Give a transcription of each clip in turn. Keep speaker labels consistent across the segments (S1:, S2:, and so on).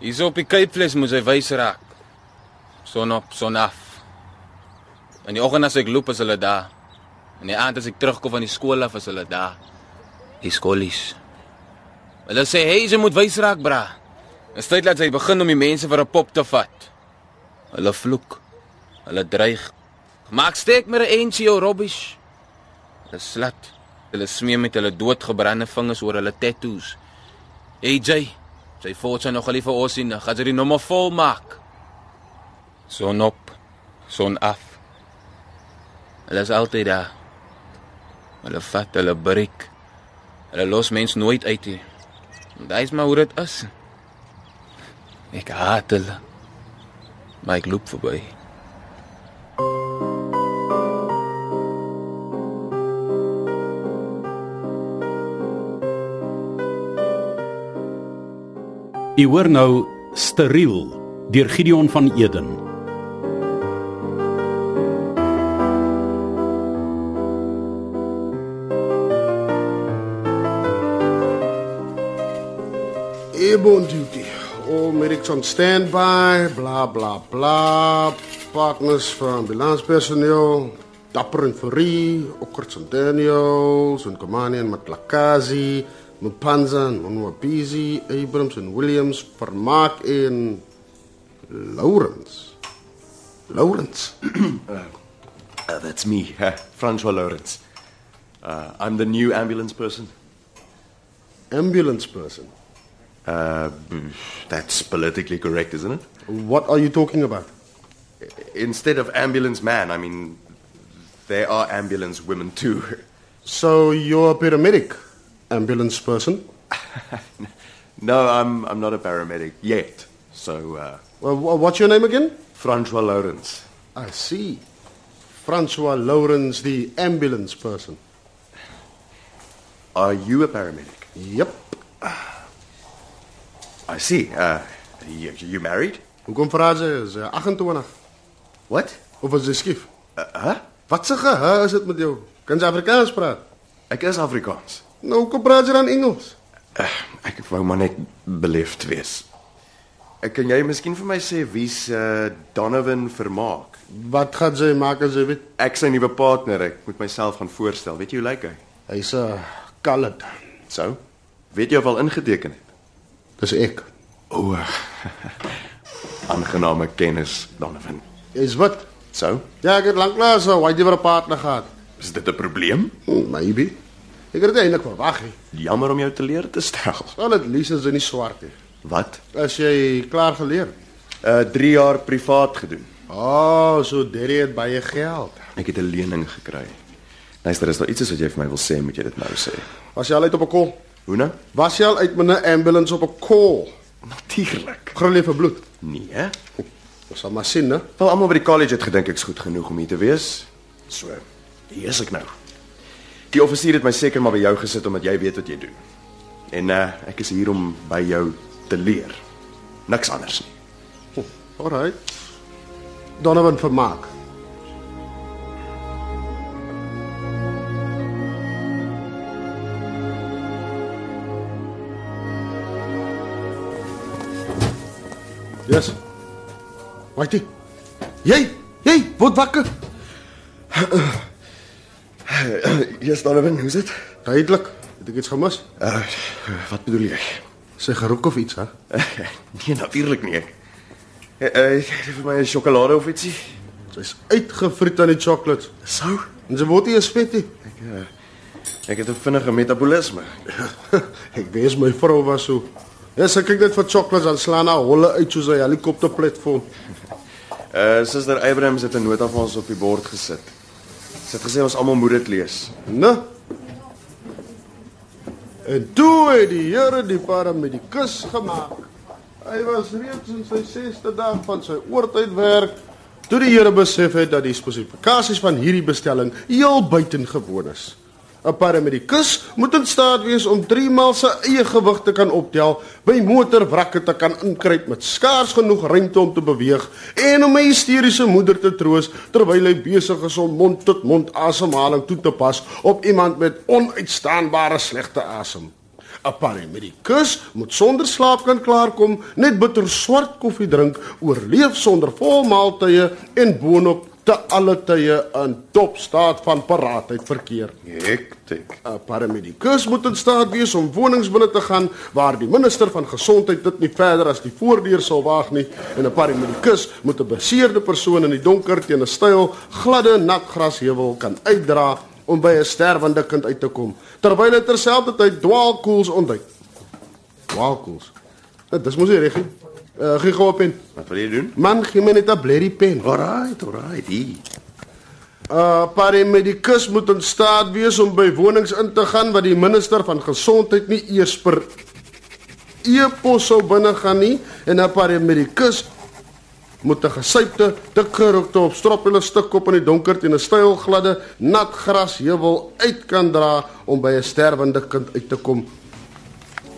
S1: Hier op die Kaapvleis moet hy wys raak. Son op, son af. In die oggend as ek loop is hulle daar. In die aand as ek terugkom van die skool af is hulle daar. Die skoolies. Hulle sê hey, jy moet wys raak, bra. Dit tyd laat hy begin om die mense vir 'n pop te vat. Hulle vloek. Hulle dreig. Maak steek met 'n eentjie jou rubbish. Hulle slat. Hulle smee met hulle doodgebrande vingers oor hulle tattoos. AJ, sy foto nog al vir ons sien, nou gaan sy die nommer vol maak. Son op, son af. Hulle is altyd daar. Hulle vat hulle breek. Hulle los mens nooit uit nie. Dit is maar hoe dit is. Ek haat hulle. Maar ek loop verby.
S2: U hoor nou Steriel deur Gideon van Eden.
S3: Airborne duty. All medics on standby, bla bla bla. Partners van ambulanspersoneel, Dapper en Furie, Okkerts en Daniels, en Komani en Matlakazi, Mupanza en Onwabizi, Abrams en Williams, Vermaak en Lawrence. Lawrence.
S4: Uh, that's me, uh, Francois Lawrence. Uh, I'm the new ambulance person.
S3: Ambulance person.
S4: Uh, b- that's politically correct, isn't it?
S3: What are you talking about?
S4: Instead of ambulance man, I mean, there are ambulance women too.
S3: So you're a paramedic, ambulance person.
S4: No, I'm, I'm not a paramedic yet. So, uh,
S3: Well, wha- what's your name again?
S4: Francois Lawrence.
S3: I see. Francois Lawrence, the ambulance person.
S4: Are you a paramedic?
S3: Yep.
S4: I see. Uh, you, you married?
S3: Hoekom vra sy is eh, 28
S4: What?
S3: of is sy skief?
S4: Uh, huh?
S3: Wat se geha is dit met jou? Kan jy Afrikaans praat?
S4: Ek is Afrikaans.
S3: Nou hoekom praat jy dan Engels?
S4: Uh, ek wou maar net beleefd wees. Uh, kan jy miskien vir my sê wie's uh, Donovan Vermaak?
S3: Wat gaan sy maak as sy weet?
S4: Ek sy nuwe partner, ek moet myself gaan voorstel. Weet jy hoe lyk hy?
S3: Hy's 'n kallet.
S4: So? Weet jy of al ingeteken het?
S3: Dis ek.
S4: O. eh, Aangename kennis, Donovan.
S3: Is wat?
S4: So?
S3: Ja, ek het lanklaas 'n white liver partner gehad.
S4: Is dit 'n probleem?
S3: Hmm, maybe. Ek het dit eintlik verwag. hè.
S4: Jammer om jou te leer te stel.
S3: Wel, at least is dit nie swart nie.
S4: Wat?
S3: As jy klaar geleer.
S4: Uh 3 jaar privaat gedoen.
S3: Ah, so Derry het baie geld.
S4: Ek het 'n lening gekry. Luister, is daar iets is wat jy vir my wil sê, moet jy dit nou sê.
S3: Was jy al uit op 'n kol?
S4: Hoe nou?
S3: Was jy al uit met 'n ambulance op 'n kol?
S4: Natuurlik.
S3: Grille vir bloed.
S4: Nee, hè?
S3: Ons sal maar sien, né?
S4: Wel almal by die college het gedink ek's goed genoeg om hier te wees. So, hier is ek nou. Die offisier het my seker maar by jou gesit omdat jy weet wat jy doen. En uh ek is hier om by jou te leer. Niks anders nie.
S3: Alraai. Hm, Donovan vermaak. Yes. Waitie. Jy, jy, word wakker.
S4: Yes, Donovan, hoe's dit?
S3: Duidelik. Het ek iets gemis?
S4: Uh wat bedoel jy?
S3: Sy geroek of iets, hè?
S4: nee, natuurlik nie. Uh, uh vir my 'n sjokolade of ietsie.
S3: Sy's uitgevriet aan die chocolates.
S4: Sou?
S3: En sy word nie eens vet nie.
S4: Ek uh, ek het 'n vinnige metabolisme.
S3: ek wens my vrou was so. Ja, sy kyk net vir chocolates dan slaan haar holle uit soos 'n helikopterplatform.
S4: Uh Suster Abrams het 'n nota vir ons op die bord gesit. Sy het gesê ons almal moet dit lees.
S3: Né? Nou? En toe het die Here die paramedikus gemaak. Hy was reeds in sy 6ste dag van sy oortydwerk toe die Here besef het dat die spesifikasies van hierdie bestelling heel buitengewoon is. 'n Paramedikus moet in staat wees om 3 maal sy eie gewig te kan optel, by motorwrakke te kan inkruip met skaars genoeg ruimte om te beweeg en om 'n hysteriese moeder te troos terwyl hy besig is om mond tot mond asemhaling toe te pas op iemand met onuitstaanbare slegte asem. 'n Paramedikus moet sonder slaap kan klaarkom, net bitter swart koffie drink, oorleef sonder volmaaltye en boonop te alle tye in topstaat van paraatheid verkeer.
S4: Hektiek.
S3: 'n Paramedikus moet in staat wees om wonings binne te gaan waar die minister van gesondheid dit nie verder as die voordeur sal waag nie en 'n paramedikus moet 'n beseerde persoon in die donker teen 'n styl gladde nat grasheuwel kan uitdra om by 'n sterwende kind uit te kom terwyl hy terselfdertyd dwaalkoels ontduik. Dwaalkoels. Dit is mos nie reg nie. Uh, gee gou op en
S4: Wat wil jy doen?
S3: man gee my net 'n blerrie pen.
S4: Alright, alright. Hier.
S3: 'n Paramedikus moet in staat wees om by wonings in te gaan wat die minister van gesondheid nie eers per e-pos sou binne gaan nie en 'n paramedikus moet 'n gesypte, dikke rokte op stroppele stuk op in die donker teen 'n styl gladde, nat gras heuwel uit kan dra om by 'n sterwende kind uit te kom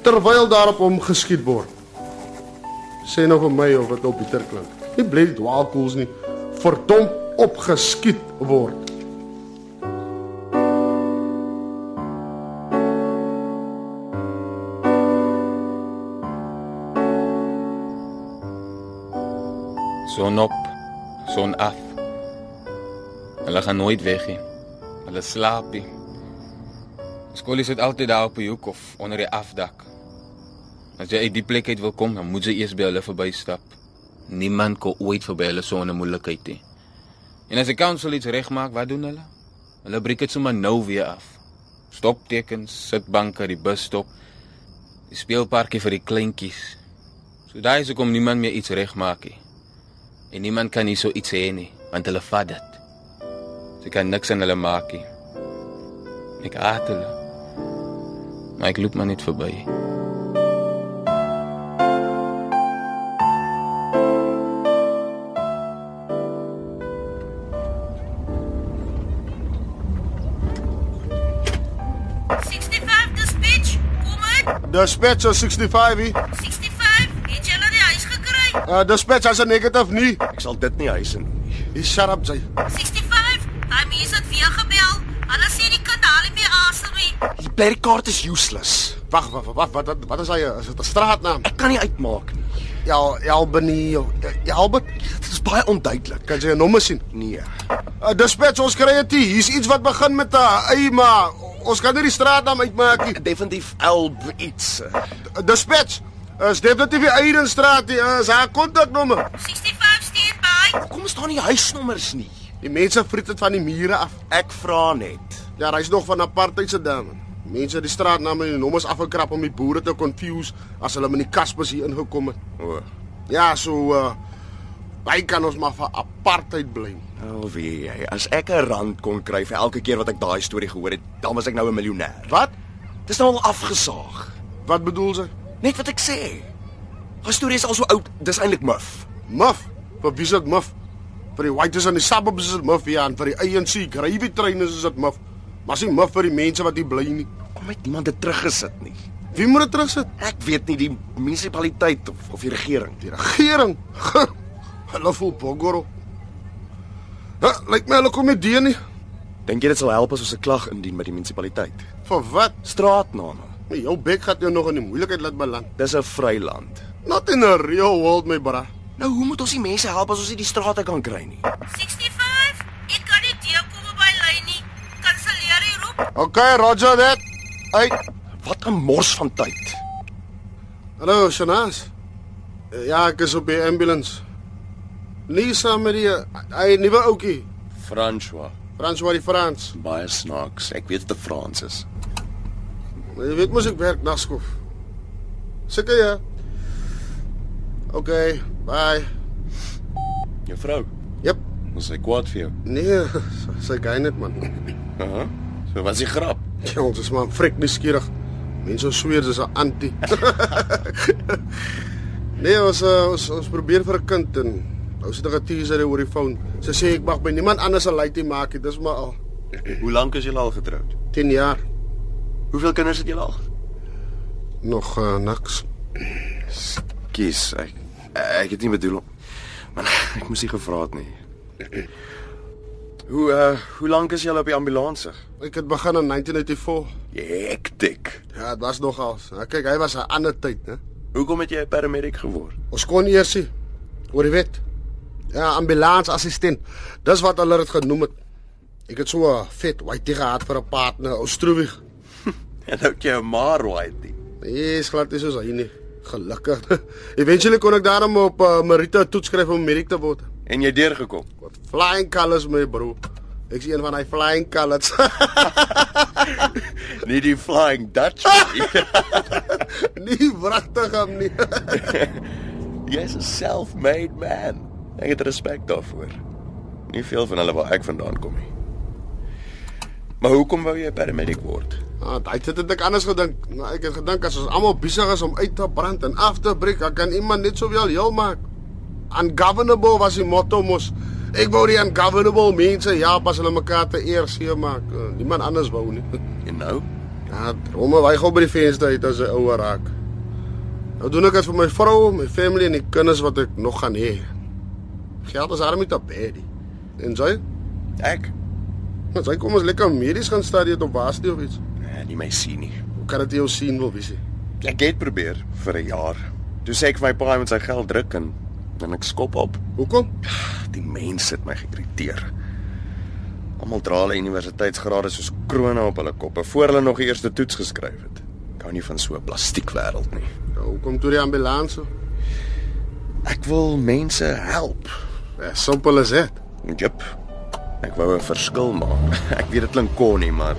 S3: terwyl daarop hom geskiet word. Sê nog vir my of dit op bitter klink. Nie bly die dwaalkoels nie. Verdomp opgeskiet word.
S1: Son op, son af. Hulle gaan nooit weg nie. Hulle slaap nie. Skool is dit altyd daar op die hoek of onder die afdak. As jy uit die plek uit wil kom, dan moet jy eers by hulle verbystap. Niemand kom ooit verby hulle sonder moeilikheid nie. En as die council iets regmaak, wat doen hulle? Hulle breek dit sommer nou weer af. Stoptekens, sitbanke, die busstop, die speelparkie vir die kleintjies. So daai is hoekom niemand meer iets regmaak nie. En niemand kan hierso iets hê nie, want hulle vat dit. Sy kan niks aan hulle maak nie. Ek haat hulle. Maar ek loop maar net verby.
S5: dispatch, kom uit.
S3: Dispatch is 65. hier.
S5: 65, het julle die huis gekry?
S3: Uh dispatch as 'n negative nie.
S4: Ek sal dit nie huis in doen nie.
S3: Hier shut up jy.
S5: 65, hy mens het weer gebel. Hulle sê die kind haal nie meer asem nie.
S4: Die blerkaart is useless.
S3: Wag, wag, wag, wat wat wat is hy? Is dit 'n straatnaam?
S4: Ek kan nie uitmaak nie.
S3: Ja, Albany. of- Ja, Albert,
S4: Dit is baie onduidelik.
S3: kan jy 'n nommer sien?
S4: Nee.
S3: Uh dispatch ons kry dit. hier. Hier's iets wat begin met 'n ei, maar ons kan nie die straatnaam uitmaak nie.
S4: Definitief Elb iets.
S3: Uh, Dispatch is definitief die Eidenstraat, die uh, is haar kontaknommer.
S5: 65 steen by.
S4: Kom staan nie huisnommers nie.
S3: Die mense vreet dit van die mure af.
S4: Ek vra net.
S3: Ja, hy's nog van apartheid se ding. Mense het die straatname en die nommers afgekrap om die boere te confuse as hulle met die Kaspers hier ingekom het.
S4: O,
S3: Ja, so uh by kan ons maar vir apartheid blame.
S4: alweer nou jy. As ek 'n rand kon kry vir elke keer wat ek daai storie gehoor het, dan was ek nou 'n miljonair.
S3: Wat?
S4: Dis nou al afgesaag.
S3: Wat bedoel sy?
S4: Net wat ek sê. Haar storie is al so oud, dis eintlik muf.
S3: Muf. Vir wie is dit muf? Vir die whites in die suburbs is dit muf ja, en vir die ANC gravy trainers is dit muf. Maar sien muf vir die mense wat hier bly nie.
S4: Kom het niemand dit teruggesit nie.
S3: Wie moet dit terugsit?
S4: Ek weet nie die munisipaliteit of of die regering.
S3: Die regering. hulle voel bogoro. Huh, lyk my hulle kom nie deur nie.
S4: Dink jy dit sal help as ons 'n klag indien by die munisipaliteit?
S3: Vir wat?
S4: Straatname.
S3: Jou bek gaan jou nog in die moeilikheid laat beland.
S4: Dis 'n vryland.
S3: Not in a real world my bra.
S4: Nou hoe moet ons die mense help as ons nie die strate kan kry nie?
S5: 65, ek kan nie deurkom by lyn nie. Kanselleer die roep.
S3: Okay, Roger that. Uit.
S4: Wat 'n mors van tyd.
S3: Hallo, Shanas. Eh, Ja, ek is op die ambulance. Nie saam met die eh, hy nuwe ouetjie,
S4: François,
S3: François die Frans.
S4: baie snaaks. Ek weet dit Frans is.
S3: Maar Jy weet mos ek werk nagskof. Seker ja. Okay, bye.
S4: Juffrou,
S3: Jep.
S4: ons is kwaad vir jou.
S3: Nee, sy gaan net man.
S4: Aha. So was die grap.
S3: Ja, ons is maar frik nuuskierig. Mense sweer dis 'n anti. nee, ons eh, ons ons probeer vir 'n kind en nou sit ek 'n teaser oor die foon. Sy sê ek mag by niemand anders 'n laaitjie maak nie. Dis maar al
S4: Hoe lank is julle al getroud?
S3: 10 jaar
S4: Hoeveel kinders het julle al?
S3: nog uh, niks.
S4: Kies, ek ek het nie bedoel om Eh, man ek moes nie gevra het nie. Hoe uh hoe lank is julle op die ambulans?
S3: Ek het begin in 1994.
S4: Hektiek.
S3: Ja, dit was nogals. Nou, kyk, hy was 'n ander tyd, né?
S4: Hoekom het jy 'n paramedic geword?
S3: Ons kon nie eers sien oor die wet. Ja, ambulansassistent. Dis wat hulle dit genoem het. Ek het so 'n vet white gehad vir 'n partner, ou stroewig.
S4: En nou het jy 'n maar whitey.
S3: Nee, is glad nie soos hy nie. Gelukkig. Eventually kon ek daarom op uh, Merita toets skryf om mediek te word.
S4: En jy deurgekom.
S3: Wat flying colors my bro. Ek sien een van hy flying colors.
S4: Nie die flying Dutch nie.
S3: nie wragtig hom nie.
S4: Jy's 'n self-made man. Ek het respek daarvoor. Nie veel van hulle waar ek vandaan kom nie. Maar hoekom wou jy 'n paramedic word?
S3: Ah, daai tyd het ek anders gedink. Nou, ek het gedink as ons almal besig is om uit te brand en af te breek, dan kan iemand net sowel heel maak. Ungovernable was die motto mos. Ek wou die ungovernable mense ja pas hulle mekaar te eer seë maak. Eh, Niemand anders wou nie.
S4: En nou?
S3: Ja, romme wy gou by die venster uit as 'n ouer raak. Nou doen ek dit vir my vrou, my family en die kinders wat ek nog gaan hê. Geld is arm met tapedi. En jy?
S4: Ek?
S3: Jy kom ons lekker medies gaan studeer op Waarste of iets.
S4: Nee, nie my sien nie.
S3: Hoe kan dit jou sien wil wees? nie?
S4: Ek het probeer vir 'n jaar. Toe sê ek vir my pa hy moet sy geld druk en en ek skop op.
S3: Hoekom?
S4: Die mense het my geïrriteer. Almal dra hulle universiteitsgrade soos krone op hulle koppe voor hulle nog die eerste toets geskryf het. Ek hou nie van so 'n plastiekwêreld nie.
S3: Ja, hoekom toe die ambulans?
S4: Ek wil mense help.
S3: Ja, simpel is dit.
S4: Jep. Ek wou 'n verskil maak. Ek weet dit klink kon nie, maar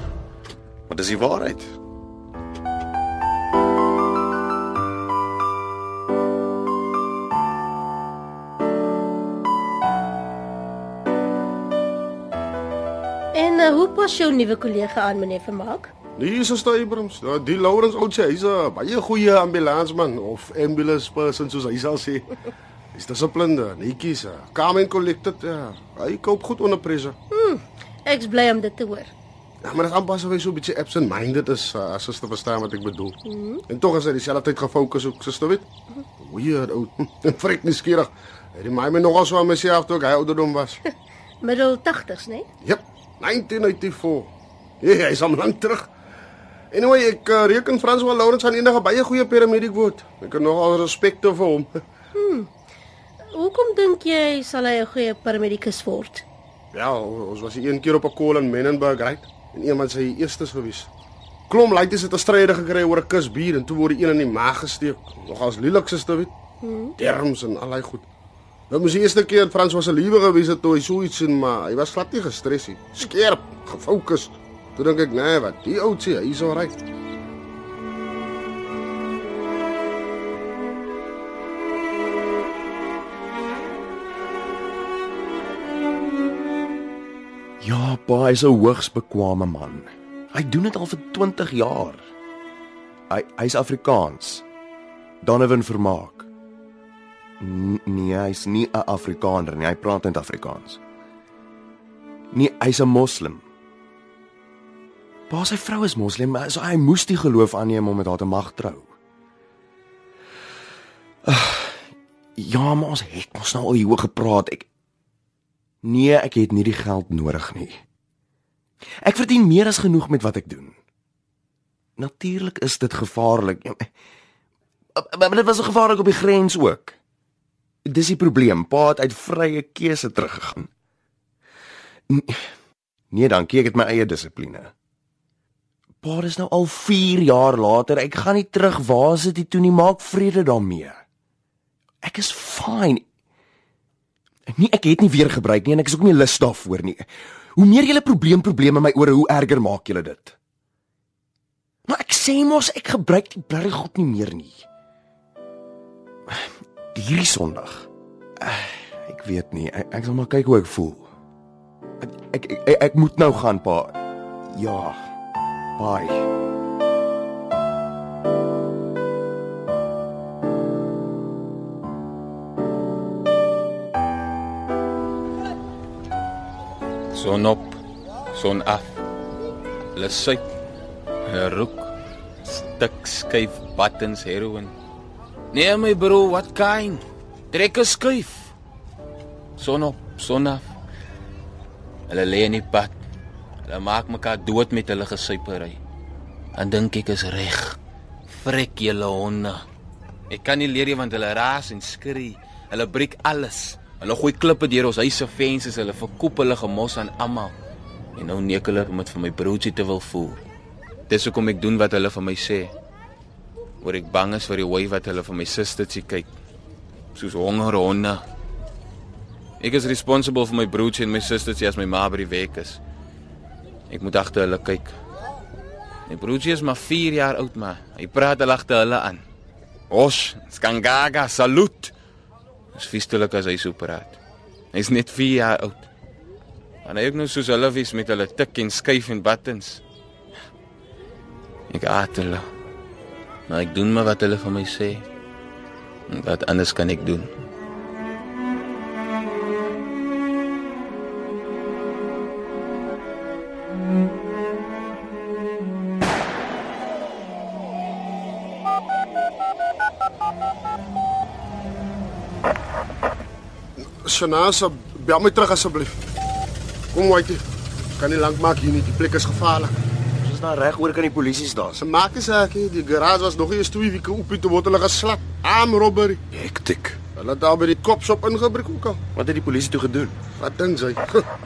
S4: maar dis die waarheid.
S6: En uh, hoe pas jou nuwe kollega aan meneer Vermaak?
S3: Nee, is ons daai Abrams. Ja, die Lawrence oudse, hy's 'n baie goeie ambulansman of ambulance person soos hy sal sê. Hy's dissiplined, netjies, eh, calm and collected. Ja. Hy koop goed onder pressure.
S6: Ek's bly om dit te hoor.
S3: Ja, maar dit aanpas of hy so 'n bietjie absent-minded is, eh, as suster verstaan wat ek bedoel. En tog is hy dieselfde tyd gefokus ook, suster weet. Weird ou. Vrek nuuskierig. Hy remind my nogal so aan myself toe ek hy ouderdom was.
S6: Middel 80s, né?
S3: Jep, 1994. Hey, hy's al lank terug. Anyway, ek uh, reken François Lawrence gaan eendag 'n baie goeie paramedic word. Ek het nogal respek te vir hom.
S6: Hoekom dink jy sal hy 'n goeie paramedikus word?
S3: ja, o- ons was een keer op 'n call in Menenberg, right? En iemand sê hy eerstes gewees. Klom laities het 'n stryde gekry oor 'n kus bier en toe word die een in die maag gesteek. Nogals lelik sister weet. Terms en al daai goed. Nou moes die eerste keer Frans was 'n liewe gewees het toe hy so iets sien, maar hy was glad nie gestres nie. Skerp, gefokus. Toe dink ek, nee, wat die ou sê, hy's al reg.
S4: Ja, pa is 'n hoogs bekwame man. Hy doen dit al vir 20 jaar. Hy hy's Afrikaans. Donovan Vermaak. N nee, hy's nie 'n Afrikaner nie. Hy praat net Afrikaans. Nee, hy's 'n moslim. Pa se vrou is moslim, maar so hy moes die geloof aanneem om met haar te mag trou. Ag, ja, maar ons het ons nou al hieroor gepraat. Ek Nee, ek het nie die geld nodig nie. Ek verdien meer as genoeg met wat ek doen. Natuurlik is dit gevaarlik. Ja, Maar maar dit was ook gevaarlik op die grens ook. Dis die probleem. Pa het uit vrye keuse teruggegaan. N- Nee, dankie, ek het my eie dissipline. Pa is nou al 4 jaar later. Ek gaan nie terug waar sit dit toe nie. Maak vrede daarmee. Ek is fyn. Nee, ek het nie weer gebruik nie en ek is ook nie lus daarvoor nie. Hoe meer julle probleem probleme in my ore, hoe erger maak julle dit. Maar ek sê mos ek gebruik die blerrie goed nie meer nie. Hierdie Sondag. eh, Ek weet nie. Ek, ek sal maar kyk hoe ek voel. Ek ek ek, ek, ek moet nou gaan, pa. Ja. Bye.
S1: Son op, son af. Hulle suip, hulle rook, stuk skuif buttons heroin. Nee my bro, wat kind? Trek 'n skuif. Son op, son af. Hulle lê in die pad. Hulle maak mekaar dood met hulle gesuipery. dan dink ek is reg. Frek julle honde. Ek kan nie leer nie want hulle raas en skree. Hulle breek alles. Hulle gooi klippe deur ons huis se vensters, hulle verkoop hulle gemos aan almal. En nou neek hulle om dit vir my broertjie te wil voer. Dis hoekom ek doen wat hulle vir my sê. Oor ek bang is vir die hoe wat hulle vir my sustertjie kyk. Soos honger honde. Ek is responsible vir my broertjie en my sustertjie as my ma by die werk is. Ek moet agter hulle kyk. My broertjie is maar 4 jaar oud maar hy praat al agter hulle aan. Osh, skangaga, salut. Dis viestulik as hy so praat. Hy's net 4 jaar oud. En hy ook nou soos hulle wies met hulle tik en skuif en buttons. Ek haat hulle. Maar ek doen maar wat hulle van my sê. En Wat anders kan ek doen?
S3: Shanasa, bel my terug asseblief. Kom Whitey. Kan nie lank maak hier nie, die plek is gevaarlik.
S4: Ons is daar reg oor kan die polisie staan.
S3: Ze maken zaken, die garage was nog eens twee weken op te worden geslapt. Arm robbery.
S4: Hektiek.
S3: Hulle het daar by die kopshop ingebreek ook al.
S4: Wat het die polisie toe gedoen?
S3: Wat dink jy?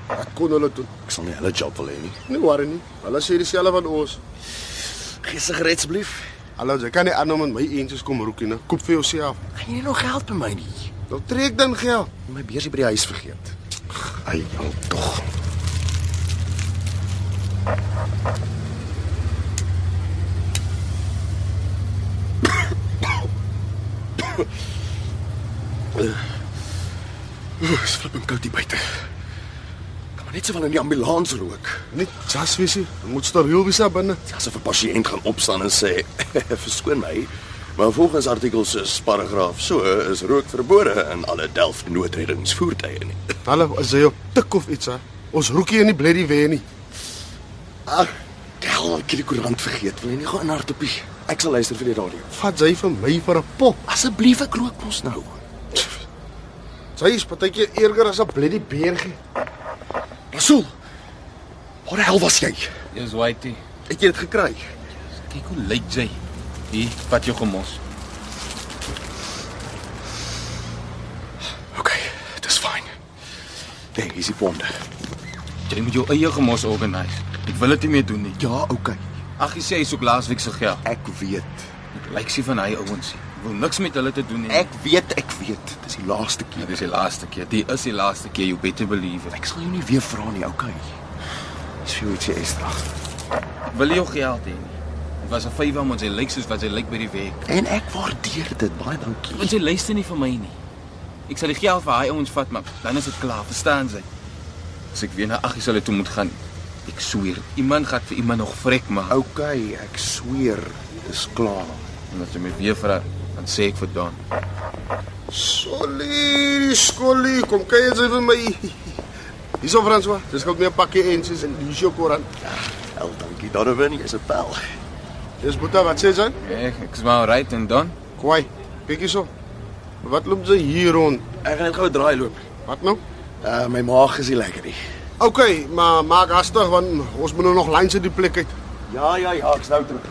S3: Wat kon hulle doen?
S4: Ek sal nie hulle job wil hê nie.
S3: Nie waar nie. Hulle sê dieselfde van ons.
S4: Gee sigarette asseblief.
S3: Hallo, jy kan nie aanhou met my eentjies kom roekie nie. nou. Koop vir jouself.
S4: Gaan jy nie nog geld by my nie?
S3: Dan trek dan geld.
S4: Ek het My beursie by die huis vergeet. Ai, al tog. Oeh, is flippend koud hier buite. Kan maar net sowel in die ambulans rook.
S3: Net jas wees jy. Jy Moet steriel wees daar binne.
S4: Dis asof 'n pasiënt gaan opstaan en sê: "Verskoon my, maar volgens artikel 6 paragraaf so is rook verbode in alle Delft noodreddingsvoertuie nie."
S3: Hallo, as jy op tik of iets hè. Ons roekie in die bloody weer nie.
S4: Ag, hel, ek het die koerant vergeet. Wil jy nie gou inhard op die Ek sal luister vir die radio.
S3: Vat jy vir my vir 'n pop.
S4: Oh, Asseblief, ek rook mos nou.
S3: Jy is partykeer eerder as 'n bloody beergie.
S4: Rasool. Waar die hel was jy?
S1: Dis Whitey.
S4: Het jy dit gekry?
S1: Kyk hoe lyk jy. Hier, vat jou gemos.
S4: OK, dis fyn. Nee, hier is die pomp.
S1: Jy moet jou eie gemos organiseer. Ek wil dit nie meer doen nie.
S4: Ja, OK.
S1: Ag, jy sê hy soek laasweek se geld.
S4: Ek weet.
S1: Dit lyk sy van hy ouens. Ek wil niks met hulle te doen hê.
S4: Ek weet, ek weet. Dis die laaste keer.
S1: dit is die laaste keer. Dit is die laaste keer you better believe it.
S4: Ek sal jou nie weer vra nie, okay? Dis vir iets ekstra.
S1: Ek wil nie jou geld hê nie. Dit was 'n vywe om ons hy lyk soos wat hy lyk by die werk.
S4: En ek waardeer dit baie dankie.
S1: Want sy luister nie vir my nie. Ek sal die geld vir hy ouens vat, maar dan is dit klaar, verstaan jy? As ek weer na Aggie sal toe moet gaan. Ek sweer, iemand gaan vir iemand nog vrek maak.
S4: Okay, ek sweer, dis klaar.
S1: En as jy my weer vra, dan sê ek vir Don.
S3: Solly, skolly, kom kyk eens even my. Hierso François, dis gou meer pakkie eentjies en hier's jou koerant.
S4: Wel, dankie Donovan, jy's 'n pel.
S3: Dis Boeta, wat sê jy?
S1: Ek ek is maar right en Don.
S3: Kwai, kyk hierso. Wat loop jy hier rond?
S4: Ek gaan net gou 'n draai loop.
S3: Wat nou?
S4: Uh my maag is nie lekker nie.
S3: OK, maar maak hastig want ons moet nou nog langs uit die plek uit.
S4: Ja, ja, ja, ek's nou terug.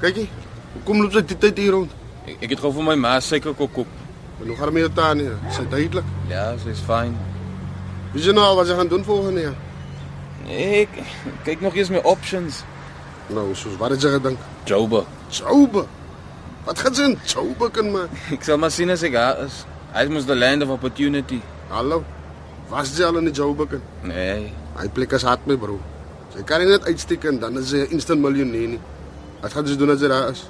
S3: Kykie, kom loop jy die tyd hier rond?
S1: Ek, ek het gou vir my ma suikerkop koop.
S3: En hoe gaan dit met jou taan hier? Sy duidelik.
S1: Ja, sy's fyn.
S3: Wie sien nou al wat jy gaan doen volgende jaar?
S1: Nee, Ek kyk nog eens my options.
S3: Nou, soos wat het jy gedink?
S1: Joburg.
S3: Joube. Wat gaan sy in Joube kan maak?
S1: Ek sal maar sien as ek daar is. Hy moet the land of opportunity.
S3: Hallo. Was jy al in die Joube kan?
S1: Nee,
S3: Hy plek is hard my bro. Jy kan nie net uitsteek en dan is jy 'n instant miljonair nie. Wat gaan jy doen as jy daar is?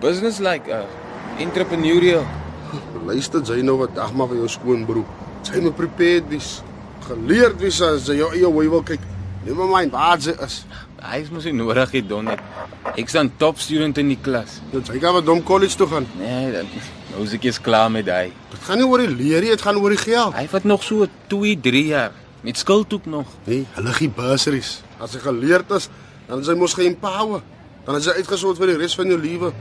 S1: business like uh, entrepreneurial.
S3: Luister jy nou wat dag maar vir jou skoonbroer. Jy moet prepared wees. Geleerd wees as jy jou eie hoe wil kyk. Neem maar mind waar jy is.
S1: Hy is mos nie nodig hier don ek. Ek staan top student in die klas.
S3: Dat jy gaan wat dom college toe gaan.
S1: Nee, dan nou is ek eens klaar met hy.
S3: Dit gaan nie oor die leer nie, dit gaan oor die geld.
S1: Hy vat nog so 2, 3 jaar. Met skuld ook nog.
S3: Nee, hulle gee bursaries. As jy geleerd is, dan is jy mos geempower. Dan is jy uitgesort vir die res van jou lewe.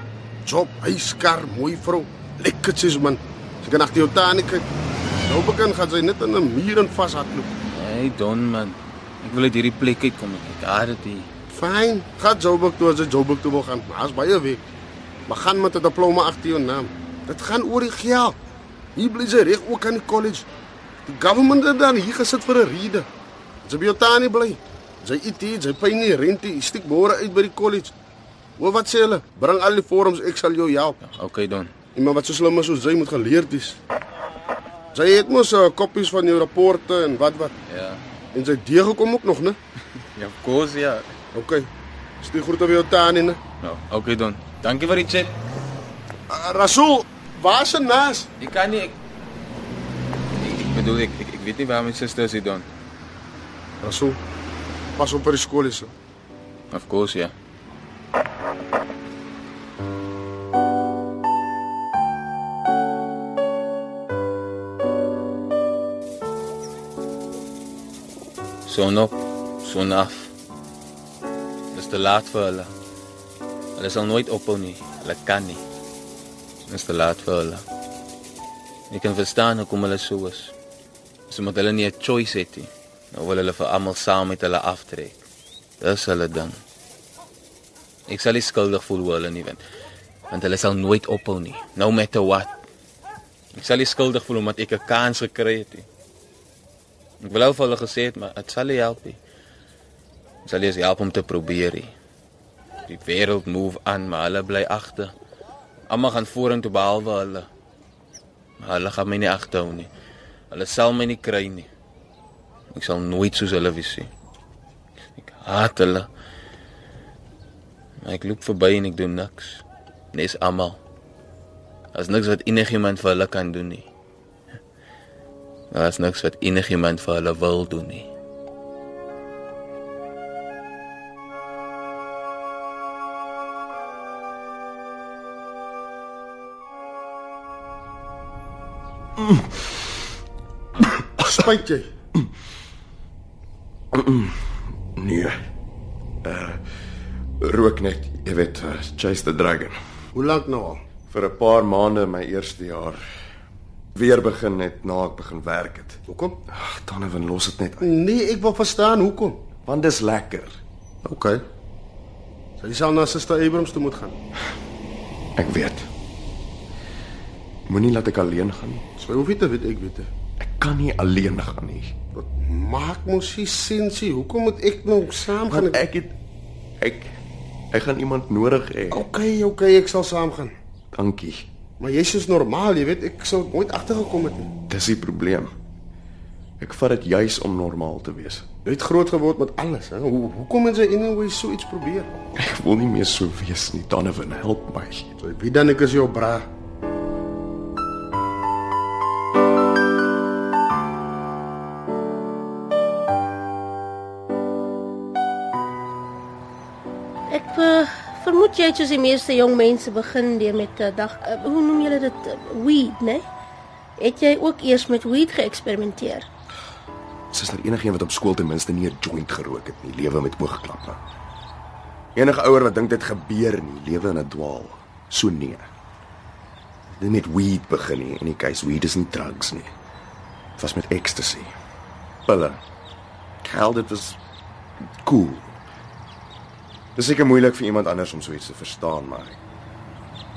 S3: Job, huis, kar, mooi vrou. Lekker sies man. Jy kan agter jou tande kyk. Nou begin gaan jy net in 'n muur en vashardloop.
S1: Nee, don man. Ek wil uit hierdie plek uitkom. Ek haat dit hier.
S3: Fyn, gaan Joburg toe as jy Joburg toe wil gaan. Daar's baie weg. Maar gaan met 'n diploma agter jou naam. Dit gaan oor die geld. Hier bly jy reg ook aan die college. Die government het dan hier gesit vir 'n rede. Jy by jou tannie bly. Jy eet hier, jy pyn nie rente, jy steek môre uit by die college. Hoor wat sê hulle? Bring al die vorms, ek sal jou help.
S1: Okay, Don.
S3: Iemand wat so slim is soos jy moet geleerd is. Jy het mos uh, kopies van jou rapporte en wat wat.
S1: Ja.
S3: En jy deeg gekom ook nog, né?
S1: Ja, of course, ja.
S3: OK. Stuur groete by jou tannie, né?
S1: Nou, okay, Don. Dankie vir die chat.
S3: Uh, Rasul, waar se nas?
S1: Jy kan nie ek, ek bedoel ek, ek ek weet nie waar my suster is, hier, Don.
S3: Rasul. Pas op by die skool hier.
S1: Of course, ja. Son op, son af. Dis te laat vir hulle. Hulle sal nooit ophou nie. Hulle kan nie. Dis te laat vir hulle. Ek kan verstaan hoekom hulle so is. Dis omdat hulle nie 'n choice het nie. Nou wil hulle vir almal saam met hulle aftrek. Dis hulle ding. Ek sal nie skuldig voel oor hulle nie want want hulle sal nooit ophou nie. No matter what. Ek sal nie skuldig voel omdat ek 'n kans gekry het nie. Ek wil al vir hulle gesê het, maar dit sal nie help nie. Dit sal nie eens help om te probeer nie. Die wêreld move aan, maar hulle bly agter. Almal gaan vorentoe behalwe hulle. Maar hulle gaan my nie agterhou nie. Hulle sal my nie kry nie. Ek sal nooit soos hulle wees nie. Ek haat hulle. Maar ek loop verby en ek doen niks. Nes almal. Daar's niks wat enigiemand vir hulle kan doen nie. Daar's niks wat enigiemand vir hulle wil doen nie.
S3: Spyt jy.
S4: Nee. Uh rook net, jy weet, uh, chase the dragon.
S3: Hoe lank nou al?
S4: Vir 'n paar maande my eerste jaar weer begin net na ek begin werk het.
S3: Hoekom?
S4: Ag, Donovan, los dit net uit.
S3: Nee, ek wil verstaan hoekom.
S4: Want dis lekker.
S3: OK. Sy sal na Suster Abrams toe moet gaan.
S4: Ek weet. Moenie laat ek alleen gaan nie.
S3: Sy hoef nie te weet ek weet dit.
S4: Ek kan nie alleen gaan nie.
S3: Maak mos nie sin sê hoekom moet ek nou saam gaan?
S4: Want ek het ek ek gaan iemand nodig hê.
S3: OK, OK, ek sal saam gaan.
S4: Dankie.
S3: Maar jy's is normaal, jy weet, ek sou nooit agtergekom het nie.
S4: Dis die probleem. Ek vat dit juis om normaal te wees.
S3: Jy het groot geword met alles, hè. Hoe hoekom het jy anyway so iets probeer?
S4: Ek wil nie meer so wees nie, Donovan, help my.
S3: So wie dan ek is jou bra.
S6: Ek uh, vermoed jy het soos die meeste jong mense begin deur met 'n dag uh, hoe noem julle dit uh, weed, né? Het jy ook eers met weed geëksperimenteer?
S4: Sister, enigiemand nou wat op skool ten minste nie 'n joint gerook het nie, lewe met oogklappe. Enige ouer wat dink dit gebeur nie, lewe in 'n dwaal. So nee. Dit met weed begin nie. In die case weed is nie drugs nie. Dit was met ecstasy. Pille. Hel dit was cool. Dis seker moeilik vir iemand anders om so iets te verstaan, maar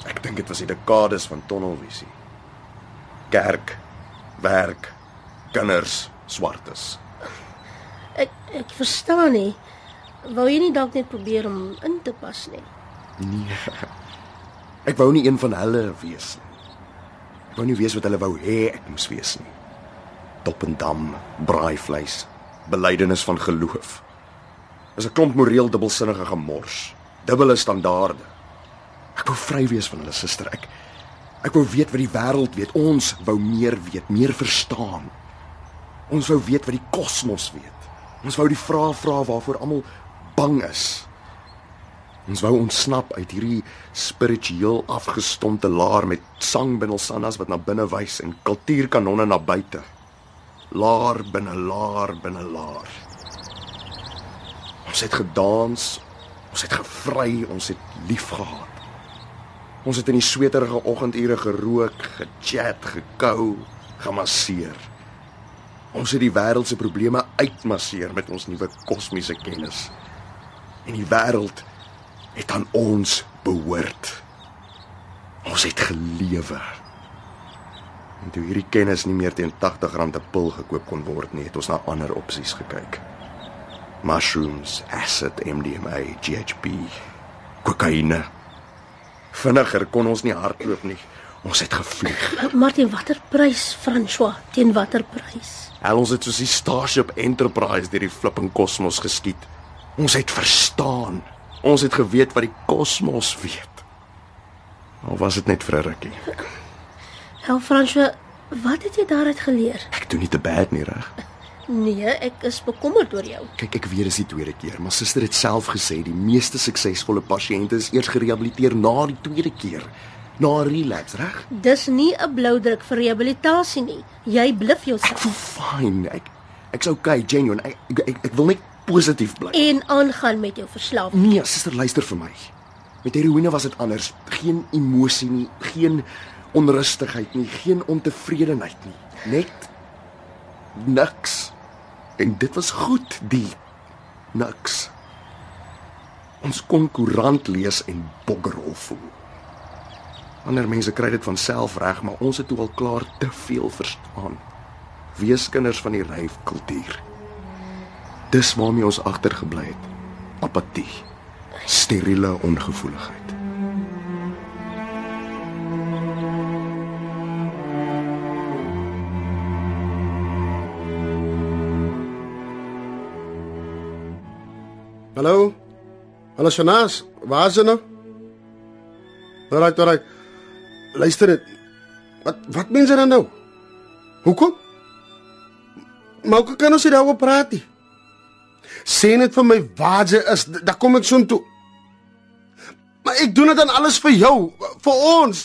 S4: ek dink dit was die dekades van tunnelvisie. Kerk, werk, kinders, swartes.
S6: Ek ek verstaan nie. Wou jy nie dalk net probeer om in te pas nie?
S4: Nee. Ek wou nie een van hulle wees nie. Ek wou nie weet wat hulle wou hê ek moes wees nie. Dop en dam, braai vleis, belydenis van geloof. Is 'n klomp moreel dubbelsinnige gemors, dubbele standaarde. Ek wou vry wees van hulle suster ek. Ek wou weet wat die wêreld weet. Ons wou meer weet, meer verstaan. Ons wou weet wat die kosmos weet. Ons wou die vrae vra waarvoor almal bang is. Ons wou ontsnap uit hierdie spiritueel afgestompte laar met sangbindelsannas wat na binne wys en kultuurkanonne na buite. Laar binne laar binne laar. Ons het gedans, ons het gevry, ons het liefgehad. Ons het in die sweterige oggendure gerook, gechat, gekou, gemasseer. Ons het die wêreld se probleme uitmasseer met ons nuwe kosmiese kennis. en die wêreld het aan ons behoort. Ons het gelewe. En toe hierdie kennis nie meer teen R80 'n pil gekoop kon word nie, het ons na ander opsies gekyk. Mushrooms, acid, MDMA, GHB, kokaine. Vinniger kon ons nie hardloop nie. Ons het gevlieg.
S6: Maar teen Eh, watter prys, François? Teen watter prys?
S4: Hel ons het soos die Starship Enterprise deur die flipping kosmos geskiet. Ons het verstaan. Ons het geweet wat die kosmos weet. Al was dit net vir 'n rukkie.
S6: Hel François, wat het jy daaruit geleer?
S4: Ek doen nie te bad nie, reg?
S6: Nee, ek is bekommerd oor jou.
S4: Kyk, ek weet dis die tweede keer, maar suster het self gesê die meeste suksesvolle pasiënte is eers gerehabiliteer na die tweede keer, na 'n relapse, reg?
S6: Dis nie 'n blou druk vir rehabilitasie nie. Jy bluf
S4: Ek voel
S6: jouself
S4: fyn. Ek ek's okay, genuine. Ek ek, ek, ek wil net positief bly.
S6: en aangaan met jou verslawing.
S4: Nee, suster, luister vir my. Met heroïne was dit anders. Geen emosie nie, geen onrustigheid nie, geen ontevredenheid nie. Net niks. En dit was goed, die niks. Ons kon koerant lees en boggerol voel. Ander mense kry dit van self reg, maar ons het toe al klaar te veel verstaan. Wees kinders van die ryf kultuur. Dis waarmee ons agtergebly het. Apatie. Steriele ongevoeligheid.
S3: Hallo? Hallo Shanas, waar is jy nou? Alright, alright. Luister dit. Wat wat mens dan nou? Hoekom? Maar hoe kan ons hier daaroor praat? nie? Sê net vir my waar jy is, d- dan kom ek son toe. Maar ek doen dit dan alles vir jou, vir ons.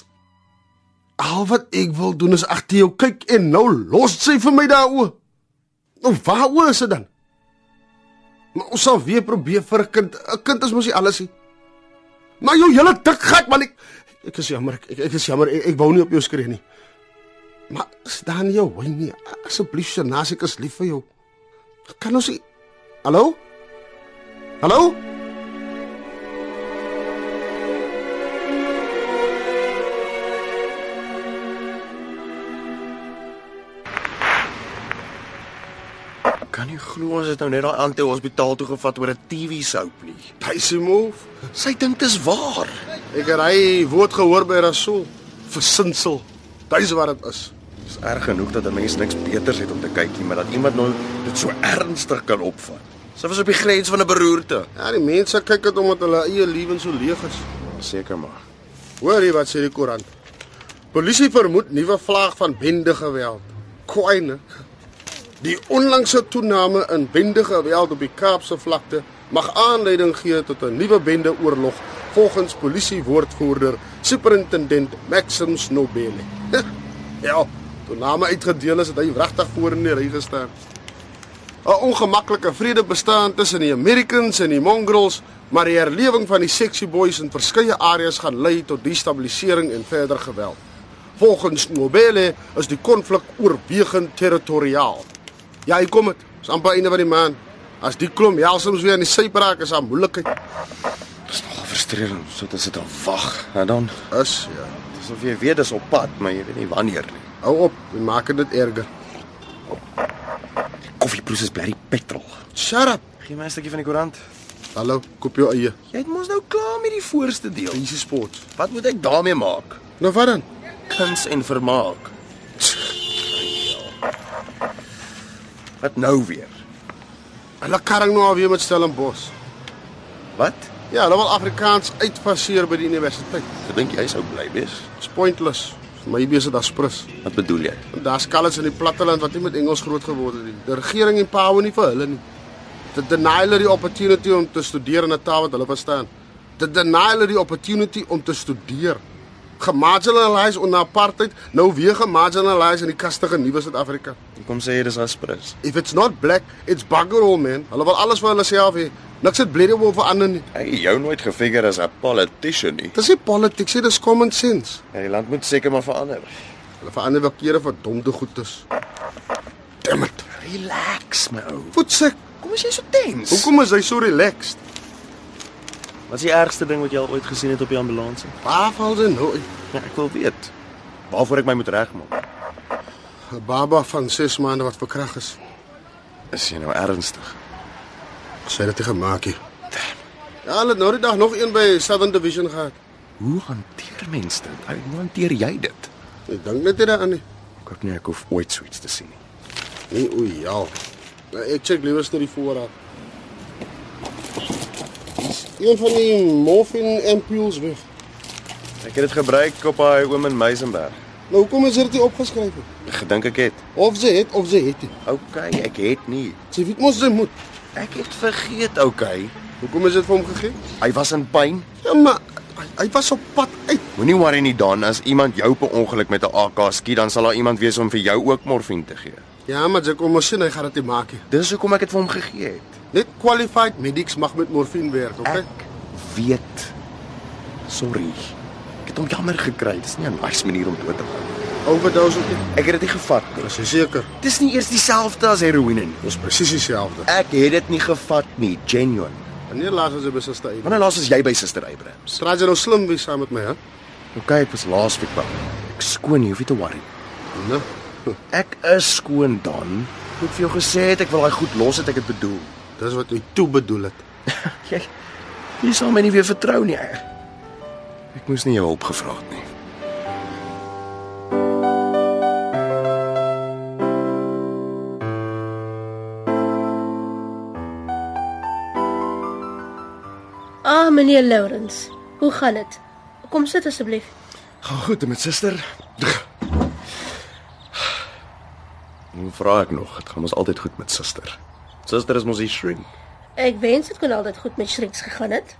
S3: Al wat ek wil doen is agter jou kyk en nou los sy vir my daaroor. Nou waaroor is dit dan? Maar ons sal weer probeer vir 'n kind. 'n Kind is mos nie alles nie. Maar jou hele dik gat man, ek ek is jammer. Ek, ek is jammer. Ek, ek wou nie op jou skree nie. Maar staan jy hoe nie? Asseblief, Shanas, ek is lief vir jou. Kan ons nie Hallo? Hallo?
S4: Kan jy glo ons het nou net daai aand te hospitaal toe gevat oor 'n TV-soap nie.
S3: Daisy move.
S4: Sy dink dis waar.
S3: Ek het hy woord gehoor by Rasool. Versinsel. Dis wat dit is.
S4: Dis erg genoeg dat 'n mens niks beters het om te kyk nie, maar dat iemand nou dit so ernstig kan opvat. Sy was op die grens van 'n beroerte.
S3: Ja, die mense kyk dit omdat hulle eie lewens so leeg is.
S4: Seker maar.
S3: Hoor jy wat sê die koerant? Polisie vermoed nuwe vlaag van bendegeweld. Kwaine. Die onlangse toename in bendegeweld op die Kaapse vlakte mag aanleiding gee tot 'n nuwe bendeoorlog volgens polisiewoordvoerder superintendent Maxim Snobele. ja, toe name uitgedeel is het hy regtig voor in die ry gestaan. 'n Ongemaklike vrede bestaan tussen die Americans en die Mongols, maar die herlewing van die sexy boys in verskeie areas gaan lei tot destabilisering en verder geweld. Volgens Nobele is die konflik oorwegend territoriaal. Ja, hier kom dit. Dis amper einde van die maand. As die klomp helsoms weer in die sypraak is aan moeilikheid.
S4: Dis nogal frustrerend om so te sit en wag. En dan,
S3: Is ja.
S4: dis asof jy weet dis op pad, maar jy weet nie wanneer nie.
S3: Hou op, jy maak dit erger.
S4: Koffieproes is bly die petrol.
S3: Shut up.
S4: Gee my 'n stukkie van die koerant.
S3: Hallo, koop jou eie.
S4: Jy het mos nou klaar met die voorste deel.
S3: Easy sports.
S4: Wat moet ek daarmee maak?
S3: Nou wat dan?
S4: kuns en vermaak. Wat nou weer?
S3: Hulle karring nou alweer met Stellenbosch.
S4: Wat?
S3: Ja, hulle wil Afrikaans uitfaseer by die universiteit.
S4: Ek dink jy sou bly wees.
S3: It's pointless. My besigheid is prins.
S4: Wat bedoel jy?
S3: Daar's kalles in die platteland wat nie met Engels groot geword het nie. Die regering en power nie vir hulle nie. Dit deny hulle die opportunity om te studeer in 'n taal wat hulle verstaan. Dit deny hulle die opportunity om te studeer. Gemarginaliseer onder apartheid, nou weer gemarginaliseer in die kastige nuwe Suid-Afrika.
S4: Kom sê jy dis aspres.
S3: If it's not black, it's bugger all man. Hulle wil alles vir hulle self hê. Niks het blede oor verander nie.
S4: Hey, jou nooit gefigure as 'n politician nie.
S3: Dis nie politics nie, dis common sense.
S4: Ja, die land moet seker maar verander.
S3: Hulle verander wel kere vir domde goedes.
S4: Damn it. Relax my ou.
S3: Voetsek.
S4: Kom as jy so tens.
S3: Hoekom is hy so relaxed?
S7: Wat is die ergste ding wat jy al ooit gesien het op die ambulans?
S3: Waar val ze nou?
S7: Ja, ek wil weet. Waarvoor ek my moet regmaak.
S3: 'n Baba van 6 maande wat verkrag is.
S4: Is jy nou ernstig?
S3: Ek sê dit het gemaak hier. Ja, hulle het nou die dag nog een by Southern Division gehad.
S4: Hoe hanteer mense dit? Ou, Hoe hanteer jy dit?
S3: Ek dink net nie daaraan nie.
S4: Ek hoop nie ek hoef ooit so iets te sien nie.
S3: Nee, oei, ja. Nou, Ek check liewer net die voorraad. Is Een van die morphine ampules weg.
S4: Ek het dit gebruik op daai oom in Meisenberg.
S3: Nou hoekom is dit nie opgeskryf nie?
S4: Ek gedink ek het.
S3: Of ze het of ze het nie.
S4: OK, ek het nie.
S3: Sy weet mos sy moet.
S4: Ek het vergeet, OK.
S3: Hoekom is dit vir hom gegee?
S4: Hy was in pyn.
S3: Ja, maar hy, hy was op pad uit.
S4: Moenie worry nie, Dan, as iemand jou per ongeluk met 'n AK skiet, dan sal daar iemand wees om vir jou ook morfine te gee.
S3: Ja, maar jy kom mos sien hy gaan dit nie maak nie.
S4: Dis hoekom ek dit vir hom gegee het.
S3: Net qualified medics mag met morfine werk, okay?
S4: Ek weet. Sorry. Ek het hom jammer gekry. Dis nie 'n nice manier om dood te gaan.
S3: Overdose ook nie.
S4: Ek het dit nie gevat nie.
S3: Is jy seker?
S4: Dis nie eers dieselfde as heroïne nie.
S3: Dis presies dieselfde.
S4: Ek het dit nie gevat nie, genuine.
S3: Wanneer laas was jy by sister uit?
S4: Wanneer laas was jy by Suster Abrams?
S3: Straat jy nou slim wees saam met my, hè?
S4: OK, ek was laasweek by. Ek skoon, jy hoef nie te worry.
S3: Nee.
S4: Ek is skoon dan. Ek het vir jou gesê het, ek wil daai goed los het ek dit bedoel.
S3: Dis wat jy toe bedoel het.
S4: Jy jy sal my nie weer vertrou nie. Ek, ek moes nie jou hulp gevra het nie.
S6: Ah, meneer Lawrence, hoe gaan dit? Kom sit asseblief.
S4: Gaan goed met suster. Hoe vra ek nog? Dit gaan ons altyd goed met suster. Suster is mos die shrink.
S6: Ek wens dit kon altyd goed met Shreks gegaan het.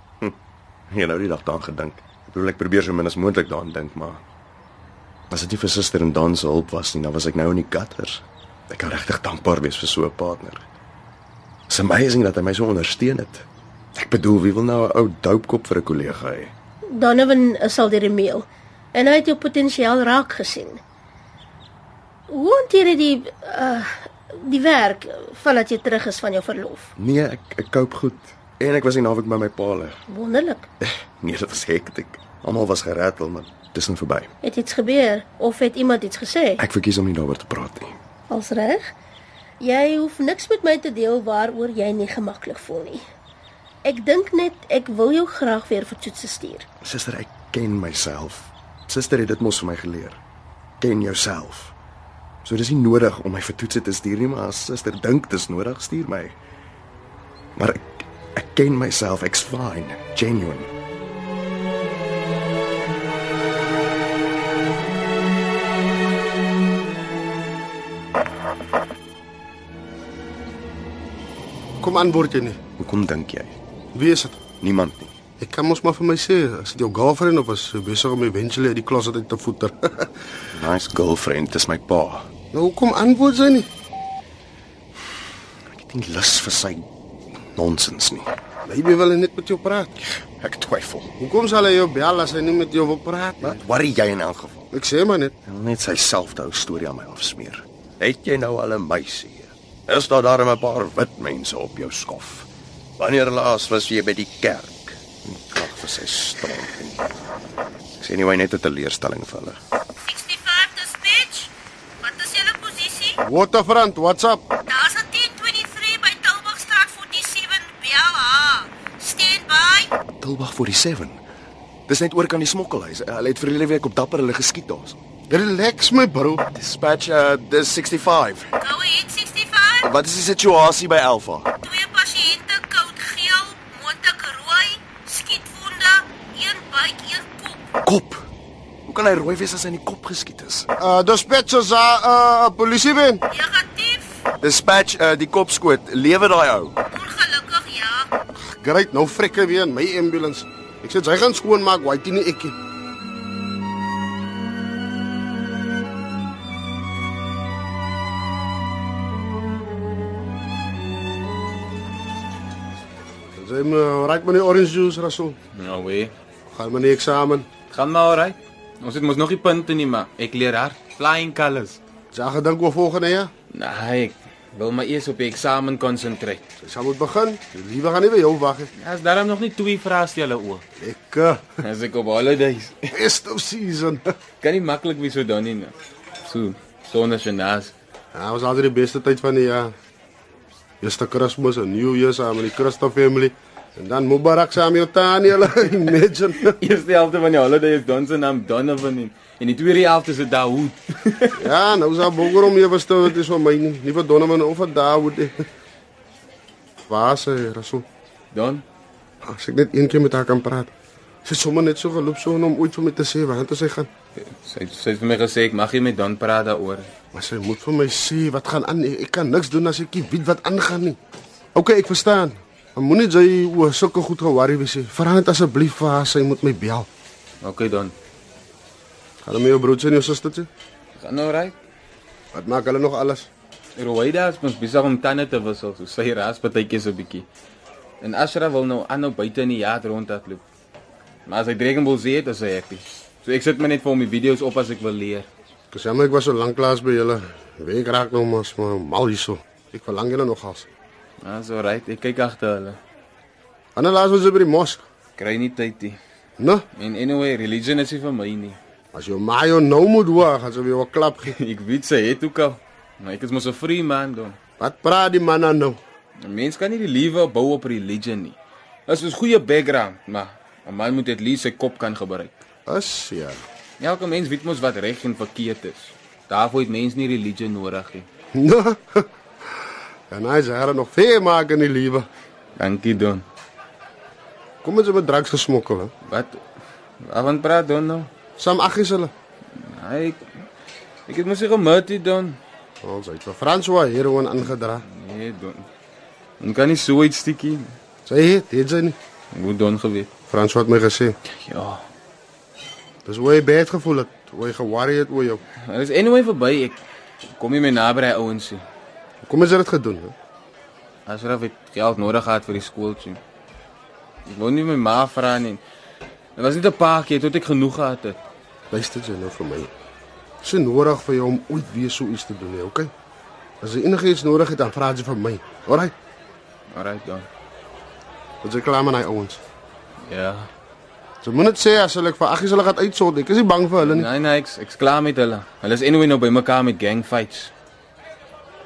S4: Jy nou die dag daaraan gedink. Ek bedoel ek probeer so min as moontlik daaraan dink, maar as dit nie vir suster en Dan se hulp was nie, dan was ek nou in die gutters. Ek kan regtig dankbaar wees vir so 'n partner. It's amazing dat hy my so ondersteun het. Ek bedoel, wie wil nou 'n ou doupkop vir 'n kollega hê?
S6: Donovan is al deur die meel en hy het jou potensiaal raak gesien. Hoe hanteer jy die uh die werk vandat jy terug is van jou verlof?
S4: Nee, ek ek koop goed. En ek was nie naweek by my paale.
S6: Wonderlik.
S4: Nee, dit was hektiek. Almal was geratel, maar dis nou verby.
S6: Het iets gebeur of het iemand iets gesê?
S4: Ek verkies om nie daaroor te praat nie.
S6: Als reg. Jy hoef niks met my te deel waaroor jy nie gemaklik voel nie. Ek dink net ek wil jou graag weer vir toetse stuur.
S4: Suster, ek ken myself. Suster het dit mos vir my geleer. Ken jouself. So dis nie nodig om my vir toetse te stuur nie, maar as suster dink dis nodig, stuur my. Maar ek ek ken myself, ek's fine, genuine.
S3: Kom antwoord jy nie.
S4: Hoekom dink jy?
S3: Wie is dit?
S4: Niemand nie.
S3: Ek kan mos maar vir my sê, as dit jou girlfriend of as jy besig om eventually uit die closet uit te voeter.
S4: Nice girlfriend, dis my pa.
S3: nou hoekom antwoord sy nie?
S4: Ek het nie lus vir sy nonsens nie.
S3: Baby wil net met jou praat.
S4: Ek twyfel.
S3: Hoekom sal hy jou bel as hy nie met jou wil praat nie?
S4: Wat worry jy in elk geval?
S3: Ek sê maar net,
S4: Hy wil net sy selfde ou storie aan my afsmeer. Het jy nou al 'n meisie hier? Is daar darem 'n paar wit mense op jou skof? Wanneer laas was jy by die kerk? En Klag vir sy stomp. Ek sien nie net 'n teleurstelling vir hulle.
S5: 65 dis bitch. Wat is julle posisie?
S3: Waterfront, what's up?
S5: Daar's 'n 1023 by Tilburgstraat 47 BLH. Stand by.
S4: Tilbag 47. Dis net oor kan die smokkelhuis. Hulle het verlede week op dapper hulle geskiet daar.
S3: Relax my bro.
S4: Dispatch, uh, dis 65.
S5: Go ahead 65.
S4: Wat is die situasie by Alpha?
S5: Twee pasiënte koud geel, mondelik rooi, skietwonde, een buik, een kop.
S4: Kop. Hoe kan hy rooi wees as hy in die kop geskiet is?
S3: Uh dispatchers, uh, uh polisie wen.
S5: Negatief.
S4: Dispatch, uh, die kop skoot. Lewe daai ou.
S5: Ongelukkig ja.
S3: Great, nou frikke weer in my ambulance. Ek sê jy gaan skoon maak, wait nie ek. nie. Sy me right met die eh, orange juice Rasul.
S1: Nou wee.
S3: Gaan my nie eksamen.
S1: Gaan maar alraai. Ons het mos nog nie punte nie, maar ek leer hard. Flying colors.
S3: Ja, gedink oor volgende jaar.
S1: Nee, ek Wil maar eers op die eksamen konsentreer.
S3: Sy sal moet begin. Die liewe gaan nie by jou wag nie.
S1: Daar's daarom nog nie twee vraestelle oor.
S3: Lekker.
S1: As ek op holidays.
S3: Festive season.
S1: Kan nie maklik wie so dan nie. nou. So, sonder genas.
S3: Ja, was altyd die beste tyd van die jaar. Eerste Kersfees en New Year saam met die Christa family en dan Mubarak saam met jou tannie hulle. Imagine.
S1: Eerste helfte van die holiday is dan se naam Donovan en, en die tweede helfte is Daoud.
S3: Ja, nou sal bonger om ewe stil dit is vir my nie. Nie vir Donovan of vir Dawood. nie. Waar is hy, Rasul?
S1: Don,
S3: As ek net een keer met haar kan praat. Sy het sommer net so geloop so om ooit vir my te sê waar toe sy gaan.
S1: sy sy het vir my gesê ek mag nie met Don praat daaroor.
S3: Maar sy moet vir my sê wat gaan aan. Ek ek kan niks doen as ek nie weet wat aangaan nie. OK, ek verstaan. Maar moenie jy oor sulke goed geworry wees nie. Vra net asseblief vir haar sy moet my bel.
S1: OK Don.
S3: Gaan hulle met jou broertjie en jou sustertjie?
S1: Gaan nou reg.
S3: Wat maak hulle nog alles?
S1: Rowaida is mos besig om tande te wissel. So sy ras partytjie so 'n bietjie. En Ashra wil nou aanhou buite in die jaar rondhardloop. Maar as hy Dragon Ball Z het, is hy happy. So ek sit maar net vir hom die video's op as ek wil leer.
S3: Ek sê maar ek was so lank laas by julle. Week raak nou mos maar mal hierso. Ek verlang julle nogals.
S1: Ah, so right. Ek kyk agter hulle.
S3: Ander laas was jy by die mosk.
S1: Kry nie tyd nie.
S3: Nou,
S1: En anyway, religion is nie vir my nie.
S3: as jou ma jou nou moet hoor, gaan sy weer 'n klap gee.
S1: Ek weet sy het ook al. Maar ek is mos 'n free man dan.
S3: Wat praat die man nou? nou?
S1: 'n Mens kan nie die lewe bou op religion nie. Dit is 'n goeie background, maar 'n man moet at least sy kop kan gebruik.
S3: As ja.
S1: Elke mens weet mos wat reg en verkeerd is. Daarvoor het mens nie religie nodig nie.
S3: Nou. En hy sê haar nog veel maak in die lewe.
S1: Dankie Don.
S3: Kom ons het met drugs gesmokkel. Hè?
S1: Wat? Waarvan praat Don nou?
S3: Sam aggies hulle.
S1: Nee, ek ek het mos nie gemoed nie Don.
S3: Ons het vir François heroïne aangedra.
S1: Nee Don. Ons kan nie so iets stiekie.
S3: Sy het, het sy nie.
S1: Hoe Don geweet?
S3: François het my gesê,
S1: Ja.
S3: dis hoe hy bed gevoel het, hoe hy ge-worry het oor jou.
S1: Dit is anyway verby. Ek kom nie meer naby daai ouens nie.
S3: Kom ons het dit gedoen. Hè?
S1: Asraf het geld nodig gehad vir die skooltjie. Ek wou nie my ma vra nie. Dit was net 'n paar keer tot ek genoeg gehad het.
S3: Luister jy nou vir my. Sy nodig vir jou om ooit weer so iets te doen, hè, okay? As jy enigiets nodig het, dan vra jy van my. Alraai.
S1: Alrite dan.
S3: Ons is klaar met daai ouens.
S1: Ja.
S3: Jy moet net sê as hulle ek vir aggies hulle gaan uitsort. Ek is nie bang vir hulle nie.
S1: Nee nee, ek ek's klaar met hulle. Hulle is anyway nou by mekaar met gangfights.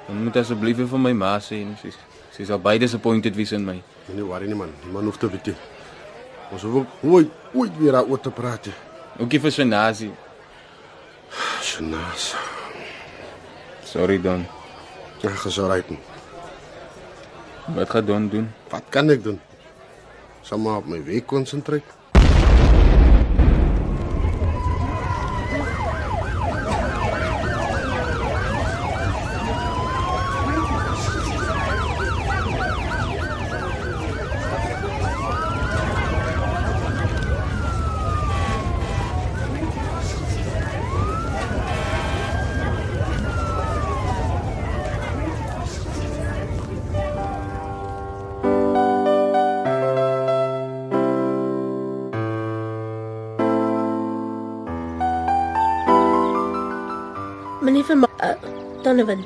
S1: Dan moet asseblief nie vir my ma sê nie. Sy's sy's al baie disappointed wies in my.
S3: Moenie worry nie man. Niemand hoef te weet. nie. Ons hoef ook ooit ooit weer daaroor te praat.
S1: Ookie vir Shanazi.
S3: Sjonas.
S1: Sorry dan.
S3: Ek gaan sou ry.
S1: Wat gaan Don doen?
S3: Wat kan ek doen? Sal maar op my werk konsentreer.
S6: Meneer van Ma- eh, Donovan.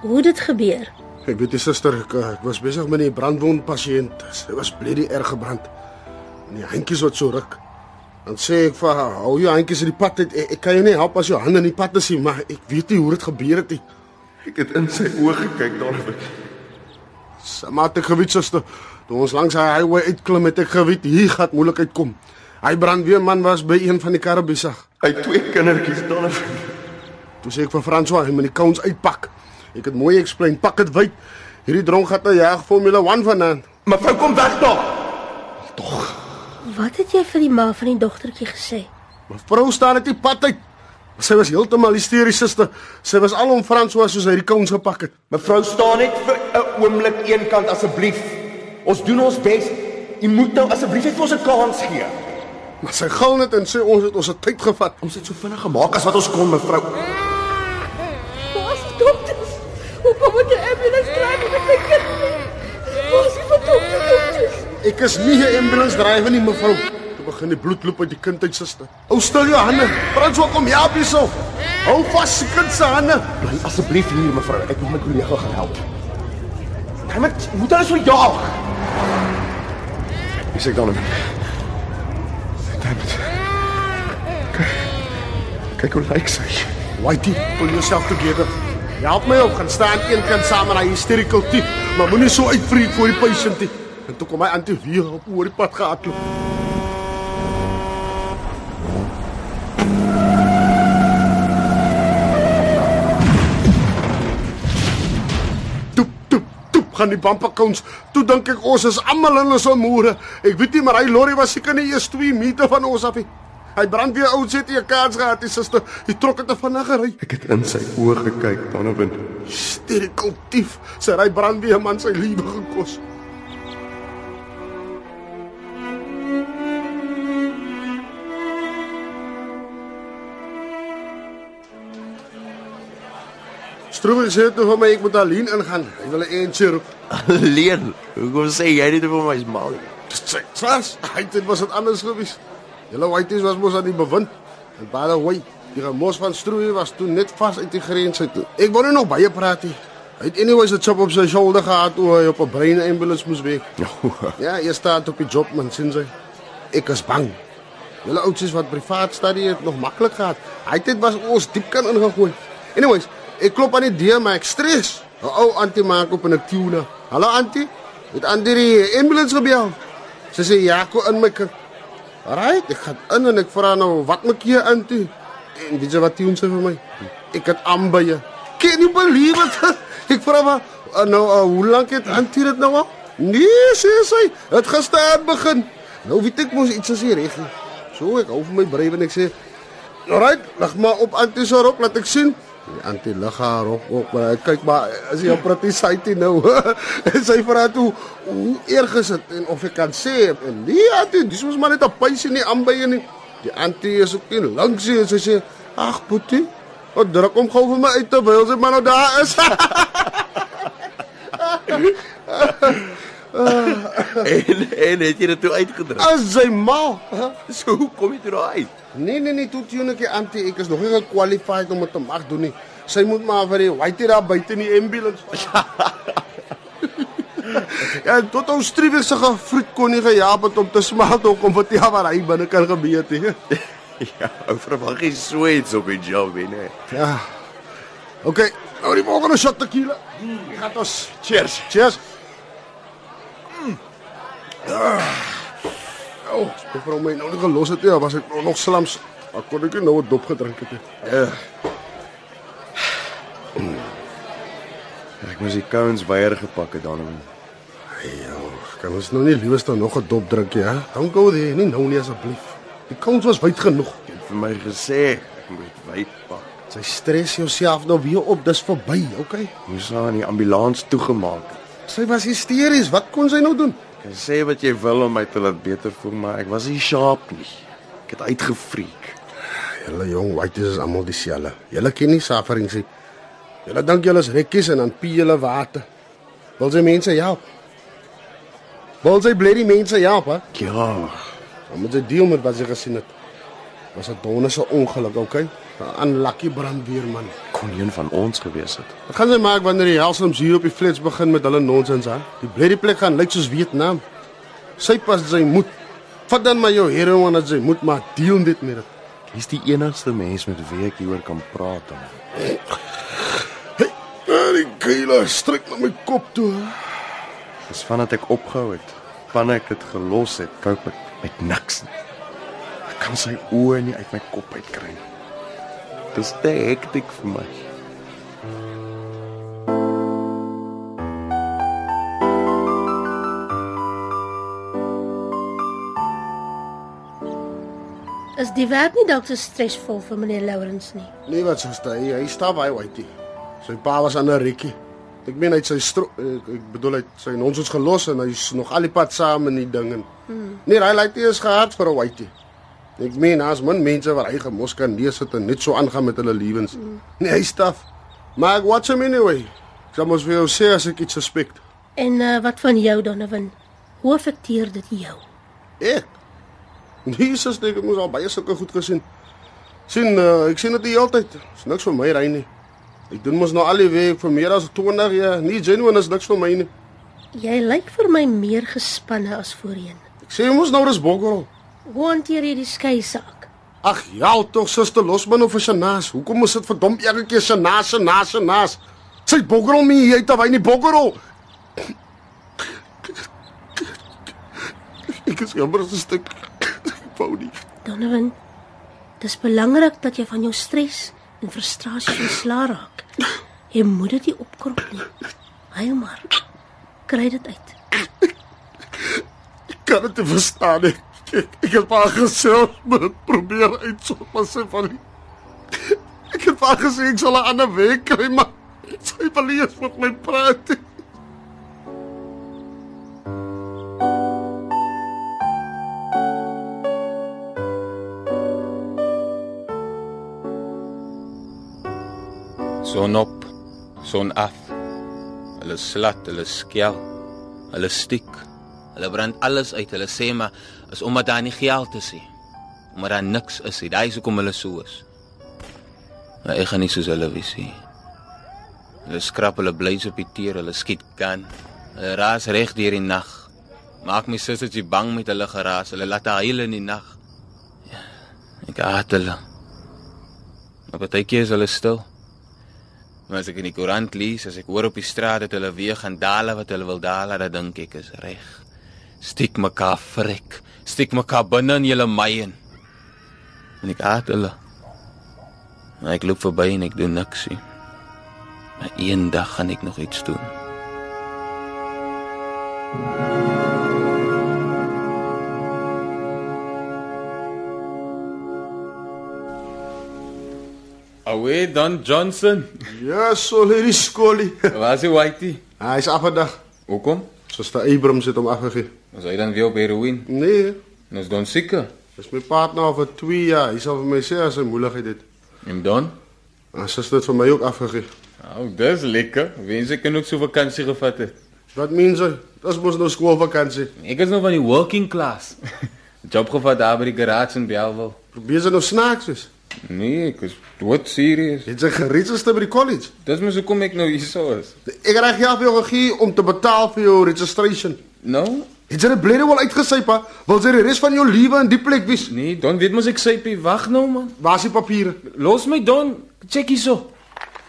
S6: Hoe het dit gebeur?
S3: Ek weet die suster, ek, eh, ek was besig met 'n brandwondpasiënt. Sy was bloedig erg gebrand. En die handjies wat so ruk. Dan sê ek vir haar, "Hou jou handjies uit die pad uit. Ek, ek kan jou nie help as jou hande in die pad is nie, maar ek weet nie hoe dit gebeur het nie."
S4: Ek het in sy oë gekyk daaroor.
S3: Samaat ek geweet suster, toe ons langs hy highway uitklim het ek geweet hier gaan moeilikheid kom. Hy brandweerman was by een van die karre besig.
S4: Hy het twee kindertjies Donovan.
S3: Toe sê ek vir François, hy moet die cones uitpak. Ek het mooi explain, pak dit wyd. Hierdie dronk gaan nou jag Formule 1 vanaand.
S4: Mevrou kom weg daar.
S6: Wat het jy vir die ma van die dogtertjie gesê?
S3: Mevrou staan uit die pad uit. Sy was heeltemal hysteries suster. Sy was al om François soos hy die kouns gepak het.
S8: Mevrou staan net vir 'n oomblik eenkant asseblief. Ons doen ons bes. U moet nou asseblief net vir ons 'n kans gee.
S3: Maar sy gil net en sê ons het ons het tyd gevat.
S8: Ons het so vinnig gemaak as wat ons kon, mevrou.
S9: Waar is die dokters? Hoe kom ek 'n ambulance kry met my kind? Waar is die verdomde dokters?
S3: Ek is nie 'n ambulance drywer nie mevrou. Toe begin die bloedloop uit die kind uit suster. Ou stil jou hande. François kom help hierso.
S9: Ek
S3: Hou vas, se kind se hande.
S8: Bly asseblief hier mevrou, ek moet my kollega gaan help. Kom ek moet hulle so jaag.
S4: Is ek dan hom? Dammit. Kyk hoe lyk sy.
S3: Whitey, pull yourself together. Jy help my op gaan staan een kant saam met daai hysterical tief, maar moenie so uitvreet voor die patient nie. En toe kom my antie weer op oor die pad gehardloop. Toep, toep, toep gaan die bumperkons. Toe dink ek ons is almal in ons mure. Ek weet nie maar hy lorry was seker nie eers 2 meter van ons af nie. Hy brand weer oud sit hier kaats gehad, die suster. Hy trok dit vinnig gery.
S4: Ek het in sy oë gekyk, Donovan.
S3: Stereotief, sy ry brand weer man sy lewe gekos. Stroewe sê toe vir my ek moet alleen ingaan. Hy wil 'n eentjie roep.
S7: Leen, hoekom sê jy dit vir my is mal?
S3: Dis sy. Tras, hy dit was dit anders gewees. Julle whiteys was mos aan die bewind. En by the way, die mos van Stroewe was toe net vas uit die grens uit. toe. Ek wou nie nog baie praat nie. Hy het anyways 'n chop op sy skouder gehad toe hy op 'n brein ambulance moes wees. Ja, jy staan op die job man, sien jy. Ek is bang. Julle oudsies wat privaat studie het nog maklik gehad. Hy dit was ons diep kan ingegooi. Anyways, ek klop aan die deur maar ek stres. 'n Ou antie maak op 'n tuna. Hallo antie. Het antie die ambulance gebel? Sy sê ja, kom in my kind. Right, ek gaan in en ek vra nou wat maak jy antie? En weet jy wat doen sy vir my? Ek het ambye. Can you believe it? ek vra maar "Uh, nou uh, hoe lank het antie dit nou al? Nee, sê sy, dit gister begin. Nou weet ek mos iets as hier reg. nie. So ek hou van my brei en ek sê Alright, lig maar op Antie se rok, laat ek sien. Die Antie lig haar rok op, maar hy kyk maar as jy op pretty sighty nou. en sy vra toe hoe erg is dit en of ek kan sê en nee Antie, dis mos maar net 'n pysie nie aanbye nie. Die Antie is ook nie langs nie en sy sê, "Ag, boetie, wat druk hom gou vir my uit terwyl sy maar nou daar is."
S7: En en het jy dit toe uitgedruk?
S3: As sy mal.
S7: So hoe kom jy toe daar uit?
S3: Nee nee nee, toe tune ek die Antie, ek is nog nie gekwalifiseer om dit te mag doen nie. Sy moet maar vir die whitey daar buite in die ambulance. ja, en tot ons streewese gefruit kon nie gejaap het om te smaak hoe kom wat ja wat hy binne kan gebeur het.
S7: Ja, ou verwag jy so iets op die job, nee.
S3: ja. OK, nou die volgende shot tequila. Mm, Gaat ons. Cheers. Cheers. Mm. Ah. Oh, ek vrou my nou nie gelos het nie, was ek nou nog slams. Ek kon ek nie nou 'n dop gedrink het nie.
S4: Eh. Ek moes die cones weier gepak het, Donovan.
S3: Ja, kan ons nou nie liewers dan nog 'n dop drink nie, hè? Dan gou dit nie nou nie asseblief. Die kans was wyd genoeg.
S4: Jy het vir my gesê ek moet wyd pak.
S3: Sy stres jouself nou weer op, dis verby, okay?
S4: Moes nou aan die ambulans toegemaak het.
S3: Sy was hysteries, wat kon sy nou doen?
S4: Jy sê wat jy wil om my te laat beter voel, maar ek was nie sharp nie. Ek het uitgefreek.
S3: Julle jong whiteys is almal dieselfde. Julle ken nie suffering nie. Julle dink julle is rekkies en dan pie julle water. Wil sy mense help? Wil sy bly mense help, hè?
S4: Ja,
S3: Dan moet jy deel met wat jy gesien het. Was 'n donderse ongeluk, okay? 'n Unlucky brandweerman.
S4: kon een van ons gewees het.
S3: Wat gaan sy maak wanneer die helsoms hier op die flats begin met hulle nonsens aan? Die blerrie plek gaan lyk soos Vietnam. Sy pas sy moet. Vat dan maar jou heroïne as jy moet, maar deel dit met dit.
S4: Jy's die enigste mens met wie ek hieroor kan praat. Donovan.
S3: eh, Die geile stryk na my kop toe.
S4: Dis vandat ek opgehou het, van ek dit gelos het, koop ek met niks nie. Ek kan sy oë nie uit my kop uitkry nie.
S7: Dis te hektiek vir my.
S6: Is die werk nie dalk so stresvol vir meneer Lawrence nie?
S3: Nee, wat suster, hy, hy stap hy uit. Sy pa was aan 'n rikkie. Ek meen hy het sy stro, ek, ek bedoel hy het sy nonsens gelos en hy's nog al die pad saam in die ding en. Hmm. Nee, hy lyk nie eens gehad vir 'n whitey. Ek meen daar's min mense wat hy gemos kan lees het en net so aangaan met hulle lewens. Hmm. Nee, hy staf. Maar ek watch him anyway. Ek sal mos vir jou sê as ek iets suspect.
S6: En uh, wat van jou Donovan? Hoe affekteer dit jou?
S3: Ek. Nee, suster, ek het mos al baie sulke goed gesien. Sien, eh, ek sien dit die hele tyd. Is niks vir my rein nie. Ek doen mos nou al die werk vir meer as 20 jaar. Nie genuine is niks vir my nie.
S6: Jy lyk vir my meer gespanne as voorheen.
S3: Ek sê mos nou dis bokkerel.
S6: Hoe hanteer jy die skei saak?
S3: Ag ja, tog suster, los my nou vir Shanaas. Hoekom is dit verdom elke keer Shanaas, Shanaas, Shanaas? Sy bokkerel my hier uit af, hy nie bokkerel. Ek is jammer sister. Ek wou nie.
S6: Donovan, dis belangrik dat jy van jou stres en frustrasie ontslae raak. Jy moet dit nie opkrop nie. Huil maar. Kry dit uit.
S3: Ek kan dit nie verstaan nie. Ek, ek het maar gesels met probeer uitsom, maar sy van nie. Ek het maar gesê ek sal 'n ander weg kry, maar sy wil nie eens met my praat nie.
S1: Son op, son af. Hulle slat, hulle skel, hulle stiek. Hulle brand alles uit. Hulle sê maar is omdat daar nie geld is nie. Omdat daar niks is nie. Daai is hoekom hulle so is. Maar ek gaan nie soos hulle wees nie. Hulle skrap hulle blys op die teer, hulle skiet kan. Hulle raas reg deur die nag. Maak my sussie bang met hulle geraas. Hulle laat haar huil in die nag. Ja, Ek haat hulle. Maar partykeer is hulle stil. Maar as ek in die koerant lees, as ek hoor op die straat dat hulle weer gaan dale wat hulle wil dale, dan dink ek is reg. Stiek mekaar frik. Stiek mekaar binne in julle myen. En ek haat hulle. Maar ek loop verby en ek doen niks nie. Maar eendag gaan ek nog iets doen. Away Don Johnson.
S3: Ja, so hierdie skoolie.
S1: Waar is hy whitey?
S3: Hy is afgedag.
S1: Hoekom?
S3: Suster Abrams het hom afgegee.
S1: Was hy dan weer op heroïne?
S3: Nee,
S1: En is Don seker?
S3: dis my partner al vir 2 jaar. Hy sal vir my sê as hy moeilikheid het.
S1: En Don?
S3: Maar suster het vir my ook afgegee.
S1: Ou, oh, dis lekker. Wens ek kan ook so vakansie gevat het.
S3: Wat meen sy? Dis mos nou skoolvakansie.
S1: Ek is nog van die working class. Job gevat daar by die garage in Bellville.
S3: Probeer sy nou snaaks is.
S1: Nee, ek is dood serieus.
S3: Het sy geregistreer by die college?
S1: Dis mos hoekom ek nou hier so is.
S3: Ek het reg ja vir jou gegee om te betaal vir jou registration.
S1: Nou?
S3: Het sy dit blerrie wel uitgesyp, ha? Wil sy die res van jou lewe in die plek wees?
S1: Nee, Don weet mos ek sypie. Wag nou man.
S3: Waar is die papiere?
S1: Los my Don. Check hierso.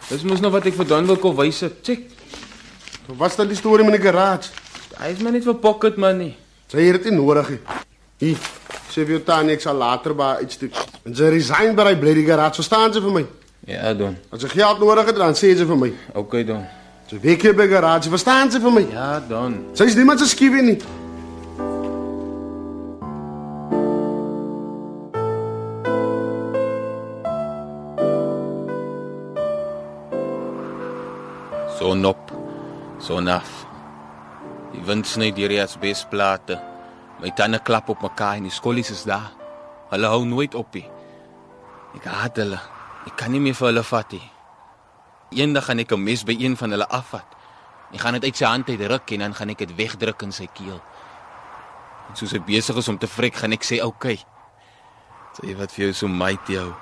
S1: Dis mos nou wat ek vir Don wil kom wys het. Check.
S3: Wat staan die storie met die garage?
S1: Hy is maar net vir pocket money.
S3: Sy het dit nie nodig nie. Hier, sê vir jou tannie ek sal later by uitsteek. En sy resign by die blerrie garage, verstaan sy vir my?
S1: Ja, Don.
S3: As sy geld nodig het, dan sê sy vir my.
S1: Okay, Don.
S3: Sy week hier by die garage, verstaan sy vir my?
S1: Ja, Don.
S3: Sy is niemand se skiewe nie.
S1: Son op, son af. Die wind sny deur die asbesplate. My tande klap op mekaar en die skollies is daar. Hulle hou nooit op nie. Ek haat hulle. Ek kan nie meer vir hulle vat nie. Eendag gaan ek 'n mes by een van hulle afvat. Ek gaan dit uit sy hand uitruk en dan gaan ek dit wegdruk in sy keel. En soos hy besig is om te vrek, gaan ek sê, "Oké. Okay. Sê wat vir jou so mighty hou.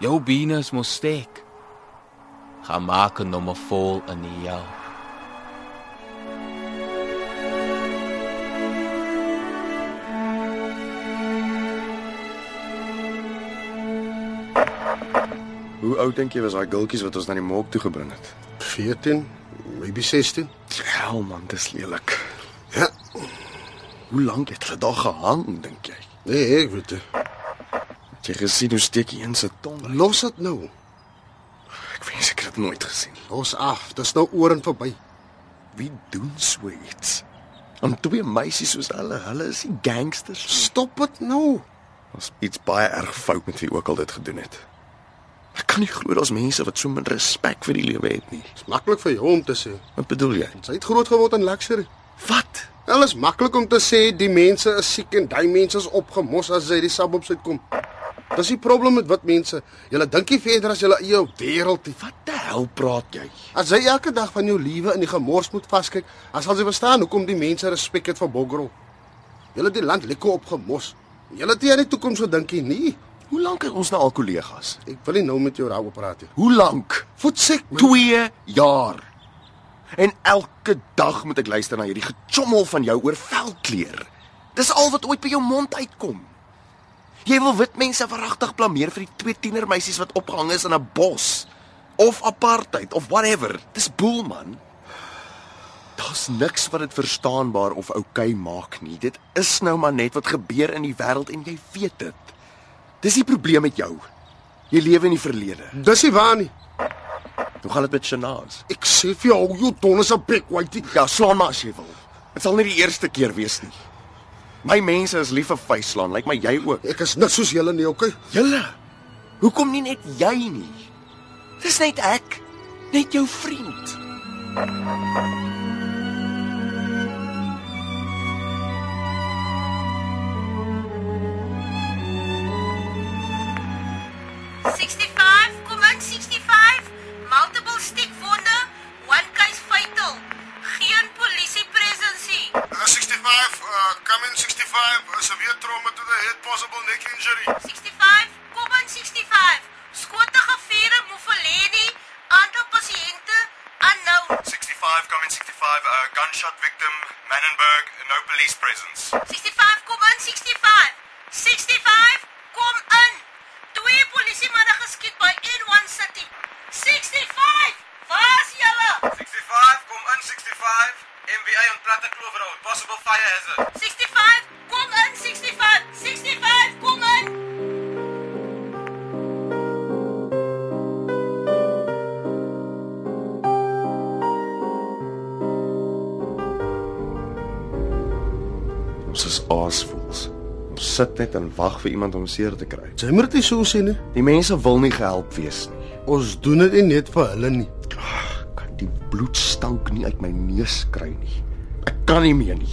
S1: Jou bene is mos steek gaan maak 'n nommer vol in die hel.
S4: Hoe oud dink jy was daai gultjies wat ons na die mok toe gebring het?
S3: 14, maybe 16.
S4: Hel man, dis lelik.
S3: Ja,
S4: Hoe lank het hulle daar gehang, dink jy?
S3: nee, ek weet dit.
S4: Het jy gesien hoe steek hy een se tong? uit?
S3: Los dit nou.
S4: Ek wens ek het dit nooit gesien.
S3: Los af. Dis nou oor en verby.
S4: Wie doen so iets? Aan twee meisies soos hulle, hulle is nie gangsters.
S3: Stop dit nou.
S4: Ons iets baie erg fout met wie ook al dit gedoen het. Ek kan nie glo daar's mense wat so min respek vir die lewe het nie.
S3: Dis maklik vir jou om te sê.
S4: Wat bedoel jy?
S3: Sy het groot geword in luxury.
S4: Wat?
S3: Alles maklik om te sê die mense is siek en daai mense is opgemos as jy die suburbs uitkom. Dis die probleem met wit mense. Julle dink nie verder as julle eie wêreld nie.
S4: Wat die hel praat jy?
S3: As jy elke dag van jou lewe in die gemors moet vaskyk, dan sal jy verstaan hoekom die mense respek het vir Bogrol. Julle het die land lekker opgemos. Julle het nie aan die toekoms gedink nie.
S7: Hoe lank is ons nou al kollegas?
S3: Ek wil nie nou met jou daaroor praat nie.
S7: Hoe lank? Voetsek 2 jaar. En elke dag moet ek luister na hierdie gechommel van jou oor velkleur. Dis al wat ooit by jou mond uitkom. Jy wil wit mense verragtig blameer vir die twee tienermeisies wat opgehang is in 'n bos of apartheid of whatever. Dis boel man. Daar's niks wat dit verstaanbaar of oukei okay maak nie. Dit is nou maar net wat gebeur in die wêreld en jy weet dit. Dis die probleem met jou. Jy lewe in die verlede.
S3: Dis nie waar nie.
S7: Hoe gaan dit met Shanaas?
S3: Ek sê vir jou, hou jou tone se bek, whitey.
S7: Ja, slaan maar as jy wil. Dit sal nie die eerste keer wees nie. My mense is lief vir vyslaan, lyk like my jy ook.
S3: Ek is niks soos julle nie, okay?
S7: Julle. Hoekom nie net jy nie? Dis net ek, net jou vriend.
S5: kom in 65. Multiple stikwonde, one case fatal. Geen polisie presensie.
S3: 65, uh, come in 65, a severe trauma to the head, possible neck injury.
S5: 65, kom in 65. Skote geviere Mufuleni, aantal pasiënte nou. unknown.
S10: 65, come in 65, uh, gunshot victim, Mannenberg, no police presence.
S5: 65, kom in 65. 65, kom in. Twee polisiemanne geskiet by N1 City. 65, waar's julle?
S10: 65, kom in 65. MBA on Platte Kloof Road, possible fire hazard.
S5: 65, kom in 65. 65, kom in.
S7: Ons is aasvoels. Ons sit net en wag vir iemand om seer te kry.
S3: Jy moet dit nie so sien nie.
S7: Die mense wil nie gehelp wees nie.
S3: Ons doen dit nie net vir hulle nie.
S7: Ag, kan die bloedstank nie uit my neus kry nie. Ek kan nie meer nie.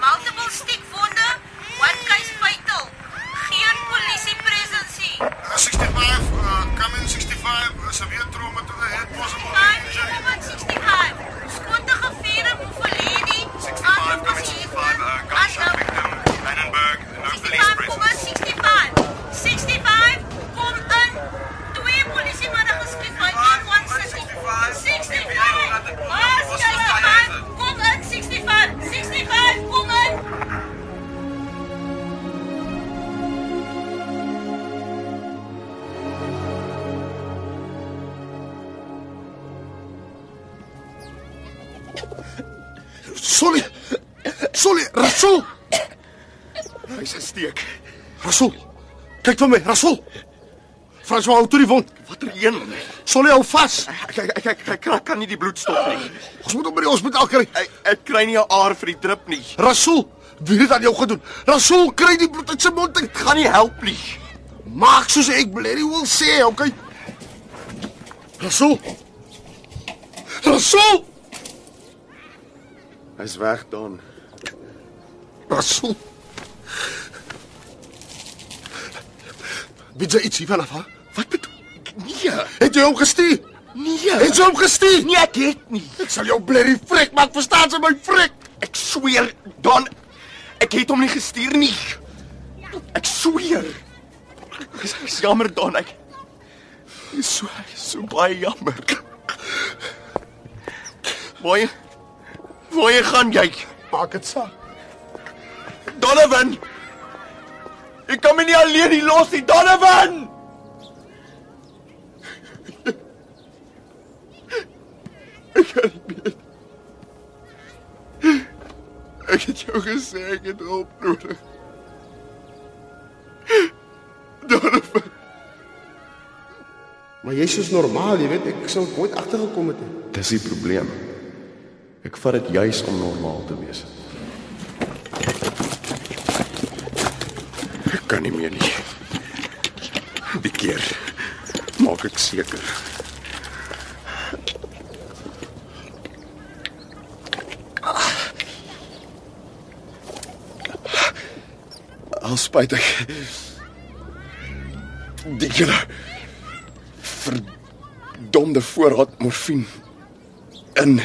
S5: Multiple stikwonde, one case fatal. Geen polisie presensie.
S3: Uh, 65, uh, come in er 65, a severe trauma to the head, possible neck
S5: 65,
S3: injury.
S5: kom in 65. Skote geviere Mufuleni,
S10: 65,
S5: aantal
S10: come in 65,
S5: pasiënte
S10: uh,
S3: ah,
S10: gunshot
S5: unknown.
S10: victim, Mannenberg, no police
S5: 65, kom in
S10: presence.
S5: 65. 65, kom in. Twee polisiemanne geskiet by N1 City. 65, waar's julle man? Kom in 65. 65, kom in.
S3: Solly. Solly, Rasul.
S7: Hy's gesteek.
S3: Rasul. Kyk vir my, Rasul. François hou toe die wond.
S7: Watter een?
S3: Solly hou vas.
S7: Ek ek ek ek, ek, ek kan nie die bloed stop nie.
S3: Ons moet hom by die hospitaal kry.
S7: Ek ek kry nie 'n aar vir die drup nie.
S3: Rasul, wie het dit aan jou gedoen? Rasul, kry die bloed uit sy mond uit.
S7: Gaan nie help nie.
S3: Maak soos ek Blerry wil sê, okay? Rasul. Rasul.
S7: Hy's weg dan.
S3: Rasul. Weet jy iets hiervan af? hè?
S7: Wat bedoel? Nee.
S3: Het jy hom gestuur?
S7: Nee.
S3: Het jy hom gestuur?
S7: Nee, ek het nie.
S3: Ek sal jou blerrie vrek maak, verstaan jy my vrek?
S7: Ek sweer, Don, ek het hom nie gestuur nie. Ek sweer. Dis is jammer, Don, ek. Dis so so baie jammer. Mooi. Mooi gaan jy.
S3: Maak dit saak.
S7: Donovan. Ek kan my nie alleen hier los nie, Donovan.
S3: Ek het jou gesê ek het hulp nodig. Donovan. Maar jy's soos normaal, jy weet, ek sou nooit agtergekom het nie.
S7: Dis die probleem. Ek vat dit juis om normaal te wees. Ek kan nie meer nie. Die keer maak ek seker. Al spyt ek. Die keer verdomde voorraad morfine in.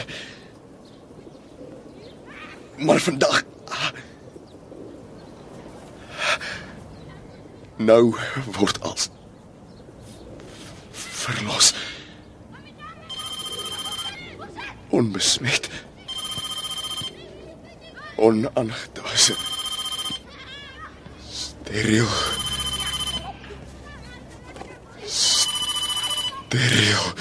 S7: Maar vandag ah, nou word als verlos. Onbesmet. Onaangetast. Steriel. Steriel.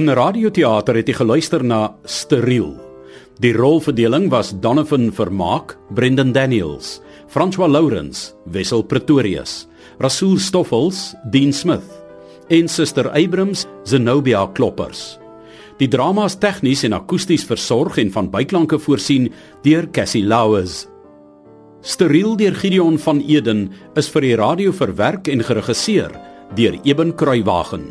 S2: In radioteater het jy geluister na Steriel. Die rolverdeling was Donovan Vermaak, Brendan Daniels, François Lourens, Wessel Pretorius, Rasool Stoffels, Dean Smith en Suster Abrams, Zenobia Kloppers. Die drama's tegnies en akoesties versorg en van byklanke voorsien deur Cassie Louws. Steriel deur Gideon van Eden is vir die radio verwerk en geregisseer deur Eben Kruiwagen.